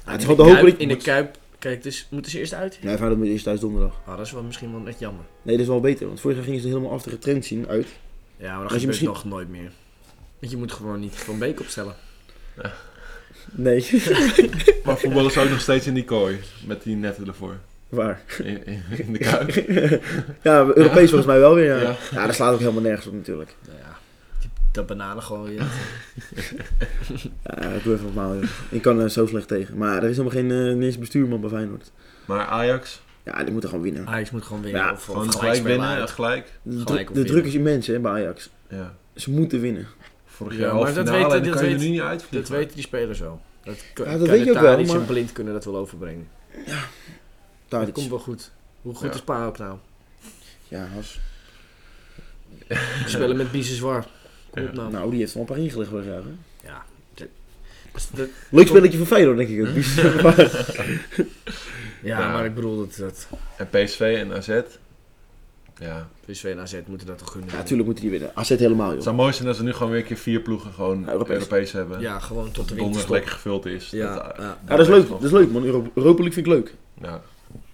Ja, het is In de gewoon de hoop dat Kuip- ik... In de Kuip, kijk, dus moeten ze eerst uit? Nee, Feyenoord moet eerst thuis donderdag. Ah, dat is wel misschien wel echt jammer. Nee, dat is wel beter, want vorig jaar gingen ze helemaal af de trend zien uit. Ja, maar dat je gebeurt misschien- nog nooit meer. Want je moet gewoon niet Van Beek opstellen. Nee, Maar voetballen ze ook nog steeds in die kooi. Met die netten ervoor. waar? In, in, in de kuip. Ja, Europees volgens mij wel weer. Ja. Ja. Ja. dat slaat ook helemaal nergens op natuurlijk. Nou ja, die, dat bananen gewoon weer. Ja, ik doe even normaal. joh. Ik kan er zo slecht tegen. Maar er is helemaal geen eh, niet eens bestuurman bij Feyenoord. Maar Ajax, Ja, die moeten gewoon winnen. Ajax moet gewoon winnen. Ja, of, gewoon of gelijk, gelijk winnen. spelen uit. Gelijk. De, Gelijk dru- of de winnen. druk is immens hè, bij Ajax. Ja. Ze moeten winnen. Vorig Ja, jaar maar halve dat finale weten- en dan dat kan je weet- er nu niet uit. Dat weten die spelers zo. Dat, kan- Ja, dat weet je ook Kanatarisch wel, maar- en blind kunnen dat wel overbrengen. Daar Dat komt wel goed. Hoe goed Ja. is Pa ook nou? Ja, Has. Ze spelen met Biseswar. Kom op nou. Nou, die heeft wel een paar ingelegd vorig jaar. hè. Ja. Dat- dat- Leuk spelletje voor Feyenoord, denk ik. ook. Maar- ja, Ja. maar ik bedoel dat, dat En PSV en AZ. Ja. PSV en AZ moeten dat toch gunnen. ja, natuurlijk moeten die winnen. AZ helemaal, Het joh. zou mooi zijn als we nu gewoon weer een keer vier ploegen gewoon Ja, Europees, Europees. hebben. Ja, gewoon tot de dat donderdag winterstop. lekker gevuld is. Ja, Dat, eh, ja. Ja, dat is leuk. nog- Dat is leuk, man. Euro- Europa League vind ik leuk. Ja.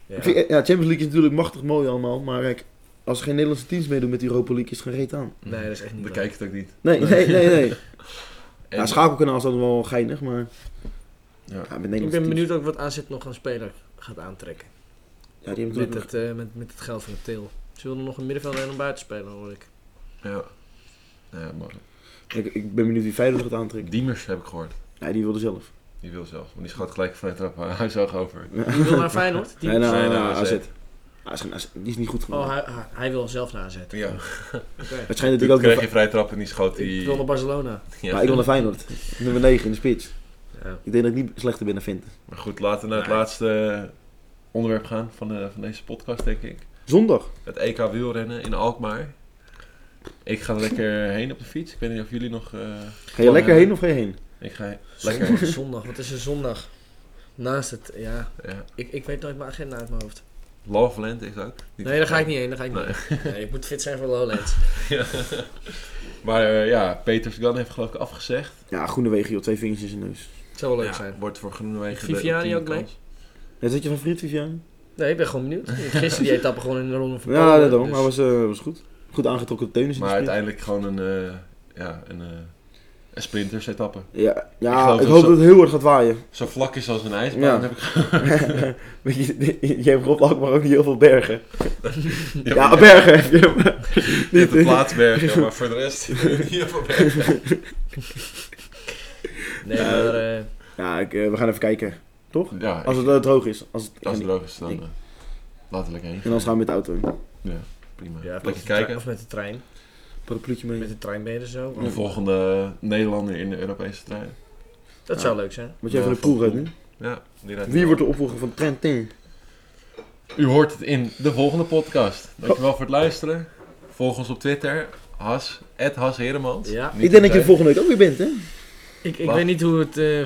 Ja. Ik vind- Ja. Champions League is natuurlijk machtig mooi allemaal. Maar kijk, als er geen Nederlandse teams meedoen met die Europa League, is het geen reet aan. Nee, dat is echt niet Dan leuk. kijk ik het ook niet. Nee, nee, nee, nee. En- Ja, schakelkanaal is dan wel geinig, maar... Ja. Ja, met Ik Nederlandse ben teams- benieuwd ook wat AZ nog aan speler gaat aantrekken. Ja, die hebben Met natuurlijk... het, eh, met, met het geld van de til. Ze wilden nog een middenvelder en een buitenspeler, hoor ik. Ja. Ja, maar Ik, ik ben benieuwd wie Feyenoord gaat aantrekken. Diemers heb ik gehoord. Ja, die wilde zelf. Die wil zelf. Want die schoot gelijk van het trap huishoog over. Die wil naar Feyenoord. Die nee, nou, zijn nou, naar AZ. AZ. Ah, is geen AZ. Die is niet goed genoeg. Oh, hij, hij- hij wil zelf naar AZ. Ja. Oké. Het schijnt Toen natuurlijk ook... kreeg nog- je vrij trap en die schoot Ik die... wil naar Barcelona. Ja. Maar ik wil naar Feyenoord. Nummer 9 in de spits. Ja. Ik denk dat ik niet slechter ben dan Vinten. Maar goed, laten we naar het Nee. laatste eh, onderwerp gaan van, eh, van deze podcast, denk ik. Zondag. Het EK wielrennen in Alkmaar. Ik ga er lekker heen op de fiets. Ik weet niet of jullie nog... eh, Ga je lekker heen of ga je heen? ik ga lekker. Zondag, zondag. Wat is een zondag? Naast het, ja. Ja. Ik, ik weet nooit mijn agenda uit mijn hoofd. Loveland is ook. Nee, daar ga ik niet heen. Daar ga ik niet Nee. heen. Nee, ik moet fit zijn voor Lowlands. Maar eh, ja, Peter Sagan heeft geloof ik afgezegd. Ja, Groenewegen, joh. Twee vingers in zijn neus. Het zou wel leuk Ja, zijn. Wordt voor Groenewegen de Viviani ultieme ook mee? kans. Ja, zat je van Frit, Vivian? Nee, ik ben gewoon benieuwd. Ik heb Gisteren die etappe gewoon in de ronde van Ja, Polen, daarom. dus- Maar was, eh, was goed. Goed aangetrokken teunis in de Maar spits. uiteindelijk gewoon een, eh, ja, een, eh, een sprinters-etappe. Ja, Ik ja geloof ik, dat hoop zo- dat het heel hard gaat waaien. Zo vlak is als een ijsbaan. Ja. Heb ik Weet je, je hebt Rob Alkmaar ook niet heel veel bergen. ja, Ja, maar je bergen heb je, maar hebt de niet- plaatsberg, ja, maar voor de rest hier voor bergen. Nee, maar... eh, Ja, ik, eh, we gaan even kijken. Toch? Ja, Als ik- het eh, droog is. Als het, als het droog is, dan ik- eh, laten we lekker heen. En dan gaan we met de auto heen. Prima. ja, lekker Of kijken. met de trein. Parapluutje mee. Met de trein ben je er zo. De volgende Nederlander in de Europese trein. Dat zou leuk zijn. Want jij van de Ja, proef van uit de nu. Ja, die rijdt Wie wordt de opvolger van Trentin? U hoort het in de volgende podcast. Dankjewel voor het luisteren. Volg ons op Twitter. Has, Has Heremans. Ja. Ik denk dat je er volgende week ook weer bent, hè? Ik, ik Wacht. weet niet hoe het... eh,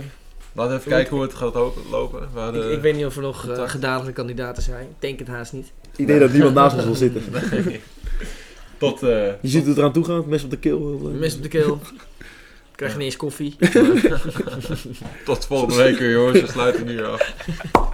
Laten we even kijken hoe het gaat ho- lopen. We hadden- ik, ik weet niet of er nog eh, gedadigde kandidaten zijn. Ik denk het haast niet. Ik denk dat niemand naast ons wil zitten. Tot... eh, Je ziet hoe het eraan toe gaat. Mes op de keel. eh, Mes op de keel. Krijg je niet eens koffie. Tot volgende week, weer, jongens. We sluiten nu af.